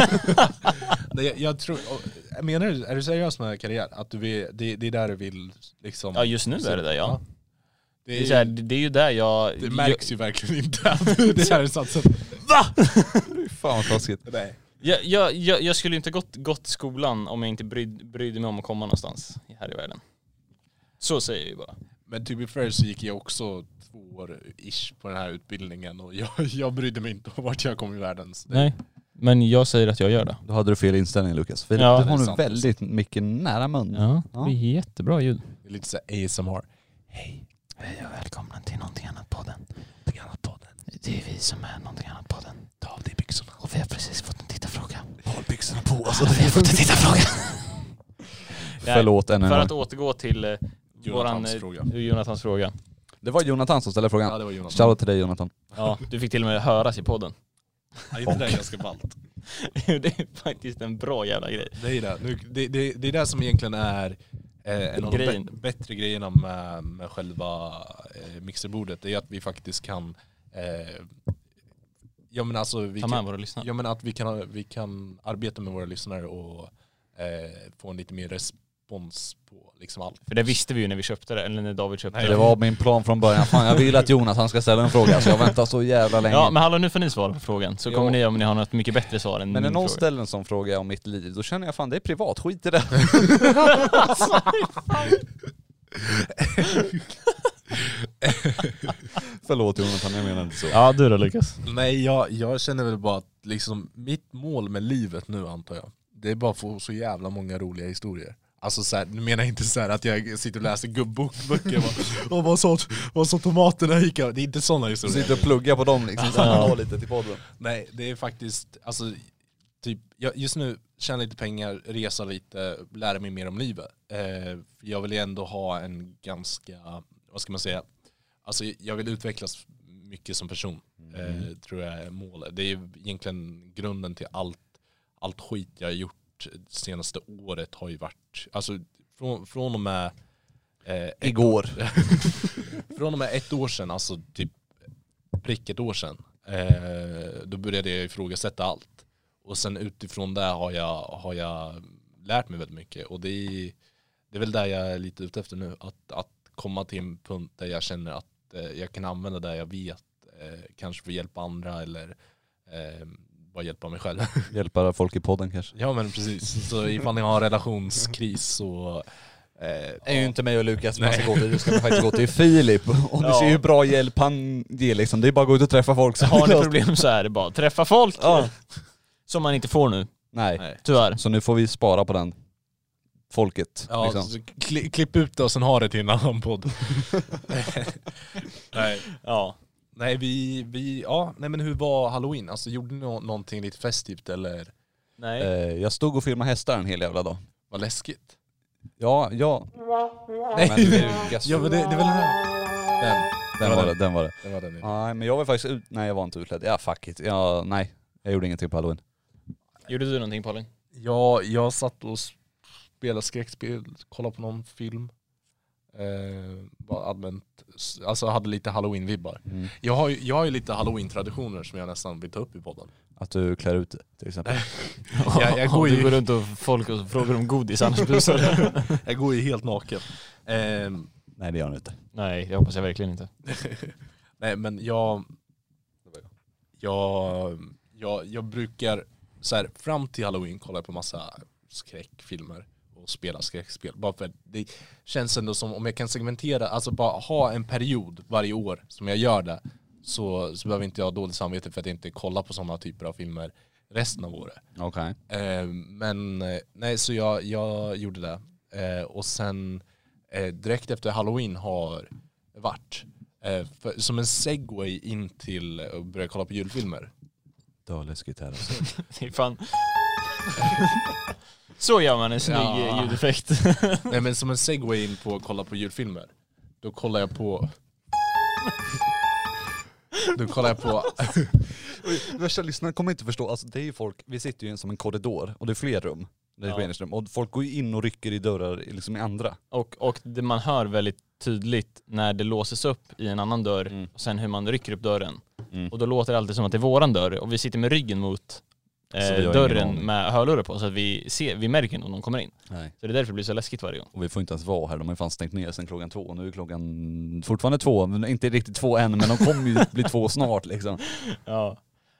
[SPEAKER 4] Nej, jag, jag tror, och, menar du, är du seriös med karriär? Att du vill, det, det är där du vill liksom...
[SPEAKER 1] Ja just nu är det där ja.
[SPEAKER 4] Det,
[SPEAKER 1] Det är,
[SPEAKER 4] är,
[SPEAKER 1] så här, det det är ju där jag...
[SPEAKER 4] det märks ju verkligen inte att det här är satsen.
[SPEAKER 3] Fan vad taskigt.
[SPEAKER 4] Nej.
[SPEAKER 1] Jag, jag, jag, jag skulle inte gått, gått till skolan om jag inte bryd, brydde mig om att komma någonstans här i världen. Så säger vi bara.
[SPEAKER 4] Men to be fair så gick jag också två år ish på den här utbildningen och jag, jag brydde mig inte om vart jag kom i världen. Så det-
[SPEAKER 1] Nej. Men jag säger att jag gör det.
[SPEAKER 3] Då hade du fel inställning Lukas. Filip,
[SPEAKER 1] Ja,
[SPEAKER 3] du
[SPEAKER 1] det
[SPEAKER 3] har
[SPEAKER 1] är
[SPEAKER 3] nu
[SPEAKER 4] sant.
[SPEAKER 3] väldigt mycket nära mun.
[SPEAKER 1] Ja,
[SPEAKER 3] Ja.
[SPEAKER 1] det är jättebra ljud.
[SPEAKER 4] Det är lite så här ASMR.
[SPEAKER 1] Hej och välkomna till Någonting Annat-podden. Någonting Annat-podden. Det är vi som är Någonting Annat-podden. Ta av dig byxorna. Och [LAUGHS] vi har precis fått en tittarfråga. Håll byxorna på alltså. Vi har fått en tittarfråga.
[SPEAKER 3] Förlåt än en
[SPEAKER 1] För
[SPEAKER 3] gång.
[SPEAKER 1] att återgå till eh, våran,
[SPEAKER 4] Jonathans
[SPEAKER 1] eh,
[SPEAKER 4] fråga.
[SPEAKER 1] Jonathans fråga.
[SPEAKER 3] Det var Jonathan som ställde frågan.
[SPEAKER 4] Ja, det var Jonathan.
[SPEAKER 3] Shoutout till dig Jonathan.
[SPEAKER 1] Ja, du fick till och med höras i podden.
[SPEAKER 4] Ja, inte det är ganska ballt.
[SPEAKER 1] [LAUGHS] det är faktiskt en bra jävla grej.
[SPEAKER 4] Det är det. Nu, det, det, det är det som egentligen är eh, en av de
[SPEAKER 1] Grejen.
[SPEAKER 4] bä- bättre grejerna med, med själva eh, mixerbordet. Det är att vi faktiskt kan eh, Ja men alltså vi
[SPEAKER 1] Ta med
[SPEAKER 4] kan,
[SPEAKER 1] våra lyssnare.
[SPEAKER 4] ja, men att vi kan, vi kan arbeta med våra lyssnare och eh, få en lite mer respons på liksom allt.
[SPEAKER 1] För det visste vi ju när vi köpte det, eller när David köpte
[SPEAKER 3] Det var min plan från början. Fan jag vill att Jonathan ska ställa en fråga så jag väntar så jävla länge.
[SPEAKER 1] Ja men hallå nu får ni svara på frågan, så
[SPEAKER 3] Ja.
[SPEAKER 1] kommer ni om ni har något mycket bättre svar än
[SPEAKER 3] Men när
[SPEAKER 1] min
[SPEAKER 3] någon
[SPEAKER 1] fråga.
[SPEAKER 3] ställer en sån fråga om mitt liv, då känner jag fan det är privat, skit i det. [LAUGHS] Förlåt Jonathan, jag menar inte så.
[SPEAKER 1] Ja du då Lukas?
[SPEAKER 4] Nej jag, jag känner väl bara att liksom mitt mål med livet nu antar jag, det är bara att få så jävla många roliga historier. Alltså så här, nu menar jag inte så här att jag sitter och läser gubbokböcker och bara, "Åh, vad sa- vad sa tomaterna i Ica?" Det är inte sådana historier.
[SPEAKER 3] Sitter och pluggar på dem liksom, så man har lite till podden.
[SPEAKER 4] Nej, det är faktiskt, alltså, typ, jag, just nu tjäna lite pengar, resa lite, lära mig mer om livet. Eh, för jag vill ju ändå ha en ganska, vad ska man säga, alltså jag vill utvecklas mycket som person, eh, tror jag är målet. Det är ju egentligen grunden till allt, allt skit jag har gjort senaste året har ju varit, alltså från, från och med eh,
[SPEAKER 3] Igår.
[SPEAKER 4] [LAUGHS] från och med ett år sedan, alltså typ prick ett år sedan, eh, då började jag ifrågasätta allt. Och sen utifrån det har jag, har jag lärt mig väldigt mycket. Och det är, det är väl där jag är lite ute efter nu, att, att komma till en punkt där jag känner att eh, jag kan använda det jag vet, eh, kanske för att hjälpa andra eller eh, bara hjälpa mig själv.
[SPEAKER 3] Hjälpa folk i podden kanske.
[SPEAKER 4] [LAUGHS] ja men precis, så ifall ni har en relationskris så eh,
[SPEAKER 3] Det är ju inte mig och Lukas man ska gå till, du ska
[SPEAKER 4] [LAUGHS]
[SPEAKER 3] faktiskt gå till Filip. Och du ser ju hur bra hjälp han ger liksom. Det är bara att gå ut och träffa folk.
[SPEAKER 1] [LAUGHS]
[SPEAKER 3] så
[SPEAKER 1] Har ni
[SPEAKER 3] löst-
[SPEAKER 1] problem så är det bara att träffa folk.
[SPEAKER 3] Ja.
[SPEAKER 1] Som man inte får nu,
[SPEAKER 3] Nej.
[SPEAKER 1] tyvärr.
[SPEAKER 3] Så nu får vi spara på den. Folket.
[SPEAKER 4] Ja,
[SPEAKER 3] liksom.
[SPEAKER 4] så kli, klipp ut det och sen ha det till en annan podd. nej,
[SPEAKER 1] Ja.
[SPEAKER 4] nej, vi, vi, ja, nej men hur var halloween? Alltså gjorde ni nå- någonting lite festivt eller?
[SPEAKER 1] Nej.
[SPEAKER 3] Eh, Jag stod och filmade hästar en hel jävla dag.
[SPEAKER 4] Vad läskigt.
[SPEAKER 3] Ja, ja.
[SPEAKER 4] Nej, [LAUGHS]
[SPEAKER 3] Men Lukas.
[SPEAKER 4] ja men det, det är väl den här? Den,
[SPEAKER 3] Den var det, den var det.
[SPEAKER 4] den var den. nu.
[SPEAKER 3] Nej men jag var faktiskt ut, nej jag var inte utklädd. Ja fuck it. Ja, nej. Jag gjorde ingenting på halloween.
[SPEAKER 1] Gjorde du någonting Polly?
[SPEAKER 4] Ja, jag satt och spelade skräckspel, kollade på någon film. Eh, var allmänt, alltså hade lite halloween-vibbar. Jag, har, ju- jag har ju lite halloween-traditioner som jag nästan vill ta upp i podden.
[SPEAKER 3] Att du klär ut dig till exempel.
[SPEAKER 4] Jag, jag går ju
[SPEAKER 1] Du går runt och folk och frågar om godis annars busar du.
[SPEAKER 4] [LAUGHS] Jag går ju helt naken. Ehm,
[SPEAKER 3] nej det gör du inte.
[SPEAKER 1] Nej, det hoppas jag verkligen [LAUGHS] inte.
[SPEAKER 4] nej men jag, jag, jag, jag brukar, så här, fram till halloween kollar jag på massa skräckfilmer och spela skräckspel. Bara för att det känns ändå som om jag kan segmentera, alltså bara ha en period varje år som jag gör det. Så, så behöver inte jag ha dåligt samvete för att jag inte kollar på sådana typer av filmer resten av året.
[SPEAKER 3] Okej.
[SPEAKER 4] Eh, men eh, nej, så jag, jag gjorde det. Eh, och sen eh, direkt efter halloween har varit, eh, för, som en segway in till att börja kolla på julfilmer.
[SPEAKER 3] Det var läskigt här alltså.
[SPEAKER 1] Det är fan... Så gör man en snygg
[SPEAKER 4] Ja.
[SPEAKER 1] eh, ljudeffekt.
[SPEAKER 4] nej men som en segway in på att kolla på julfilmer. Då kollar jag på då kollar jag på,
[SPEAKER 3] Värsta lyssnarna kommer inte förstå, alltså det är ju folk, vi sitter ju i en- som en korridor och det är fler rum. Det är
[SPEAKER 1] Ja.
[SPEAKER 3] ja. rum. Och folk går ju in och rycker i dörrar liksom i andra.
[SPEAKER 1] Och, och det man hör väldigt tydligt när det låses upp i en annan dörr och sen hur man rycker upp dörren.
[SPEAKER 3] Mm.
[SPEAKER 1] Och då låter det alltid som att det är våran dörr och vi sitter med ryggen mot
[SPEAKER 3] Så vi har
[SPEAKER 1] eh,
[SPEAKER 3] ingen
[SPEAKER 1] dörren
[SPEAKER 3] aning.
[SPEAKER 1] med hörlurar på så att vi, ser, vi märker om någon kommer in.
[SPEAKER 3] Nej.
[SPEAKER 1] Så det är därför det blir så läskigt varje gång.
[SPEAKER 3] Och vi får inte ens vara här, de har ju fan stängt ner sen klockan två. Nu är klockan fortfarande två, men inte riktigt två än men de kommer ju bli två snart liksom.
[SPEAKER 1] Ja.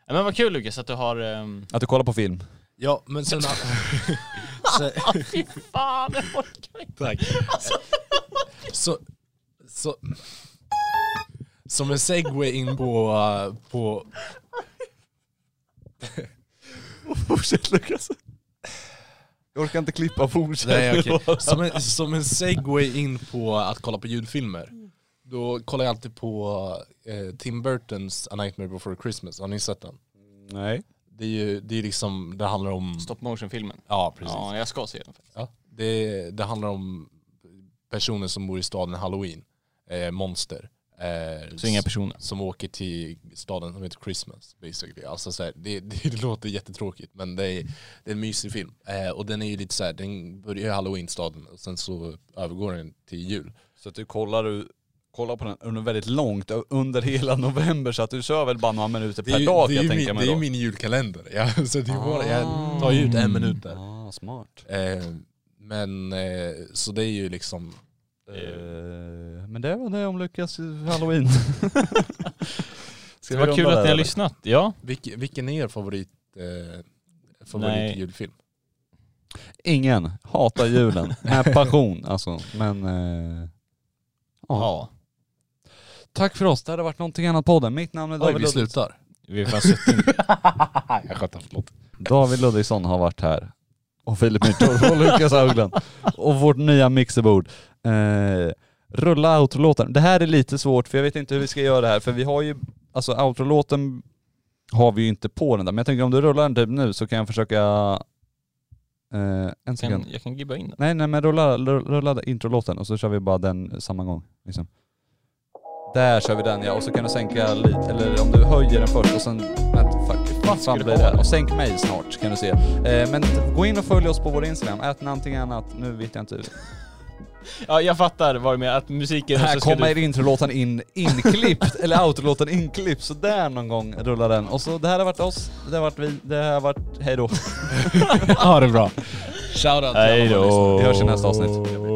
[SPEAKER 1] Ja, Men vad kul Lukas att du har... ehm,
[SPEAKER 3] Att du kollar på film.
[SPEAKER 4] ja men sen, [LAUGHS] sen
[SPEAKER 1] Fy fan, jag orkar inte.
[SPEAKER 4] Tack. Så, så, som en segway in på, uh, på
[SPEAKER 3] Fortsätt Lukas. Jag orkar inte klippa, fortsätt.
[SPEAKER 4] nej, okej. som, en, som en segway in på att kolla på julfilmer. Då kollar jag alltid på eh, Tim Burtons A Nightmare Before Christmas, har ni sett den?
[SPEAKER 3] Nej.
[SPEAKER 4] Det är ju det är liksom, det handlar
[SPEAKER 1] [LAUGHS]
[SPEAKER 4] om...
[SPEAKER 1] Stop motion-filmen.
[SPEAKER 4] Ja, precis.
[SPEAKER 1] Ja, jag ska se den.
[SPEAKER 4] Ja. det, det handlar om personer som bor i staden Halloween, eh, monster. Eh,
[SPEAKER 1] Så inga personer.
[SPEAKER 4] Som åker till staden som heter Christmas basically. Alltså så här, det, [LAUGHS] det, det låter jättetråkigt men det är, det är en mysig film. Eh, och den är ju lite så här, den börjar i Halloween-staden och sen så övergår den till jul.
[SPEAKER 3] Så att du kollar, du kollar på den under väldigt långt, under hela november så att du kör väl bara några minuter
[SPEAKER 4] Det är
[SPEAKER 3] per
[SPEAKER 4] ju,
[SPEAKER 3] dag
[SPEAKER 4] det är
[SPEAKER 3] jag
[SPEAKER 4] ju
[SPEAKER 3] tänker
[SPEAKER 4] min,
[SPEAKER 3] mig
[SPEAKER 4] det är
[SPEAKER 3] då.
[SPEAKER 4] ju min julkalender. Ja, [LAUGHS] så det är bara, jag tar ju ut en minut där.
[SPEAKER 3] Ah, smart.
[SPEAKER 4] Eh, men eh, så det är ju liksom
[SPEAKER 3] Eh, men det var det om Lukas
[SPEAKER 4] [LAUGHS]
[SPEAKER 3] halloween. Ska
[SPEAKER 1] Det var kul att ni har lyssnat. Ja.
[SPEAKER 4] Vilken, vilken är er favorit, eh, favorit
[SPEAKER 1] Nej.
[SPEAKER 4] julfilm?
[SPEAKER 3] Ingen hatar
[SPEAKER 4] [LAUGHS]
[SPEAKER 3] julen med passion alltså. Men eh, ja.
[SPEAKER 1] ja.
[SPEAKER 3] Tack för oss, det hade varit någonting annat podden. Mitt namn är David, Ludvigsson.
[SPEAKER 4] slutar.
[SPEAKER 1] Vi har fan
[SPEAKER 3] [LAUGHS]
[SPEAKER 1] suttit
[SPEAKER 4] Jag sköter, förlåt.
[SPEAKER 3] David Ludvigsson har varit här. Och Filip [LAUGHS] Myrtorp och Lukas Haugland. Och vårt nya mixerbord. Eh, rulla outrolåten. Det här är lite svårt för jag vet inte hur vi ska göra det här. För vi har ju, alltså outrolåten har vi ju inte på den där. Men jag tänker om du rullar den typ nu så kan jag försöka... Eh, en sekund.
[SPEAKER 1] kan, jag kan gibba in den.
[SPEAKER 3] Nej, nej men rulla, rulla rulla introlåten och så kör vi bara den samma gång. Liksom. Där kör vi den ja, och så kan du sänka lite, eller om du höjer den först och sen... Vänta, fuck. Fan, fan
[SPEAKER 1] du
[SPEAKER 3] blir det
[SPEAKER 1] ha
[SPEAKER 3] här?
[SPEAKER 1] det?
[SPEAKER 3] Och sänk mig snart kan du se. Eh, men t- gå in och följ oss på vår Instagram, ät någonting annat, nu vet jag inte.
[SPEAKER 1] Ja jag fattar vad du menar, att musiken...
[SPEAKER 3] Här
[SPEAKER 1] så ska
[SPEAKER 3] kommer
[SPEAKER 1] du...
[SPEAKER 3] introlåten in inklippt, eller outrolåten inklippt, så där någon gång rullar den. Och så det här har varit oss, det har varit vi, det här har varit hejdå.
[SPEAKER 4] Ha det bra. Shoutout till alla våra lyssnare.
[SPEAKER 3] Vi hörs i nästa avsnitt.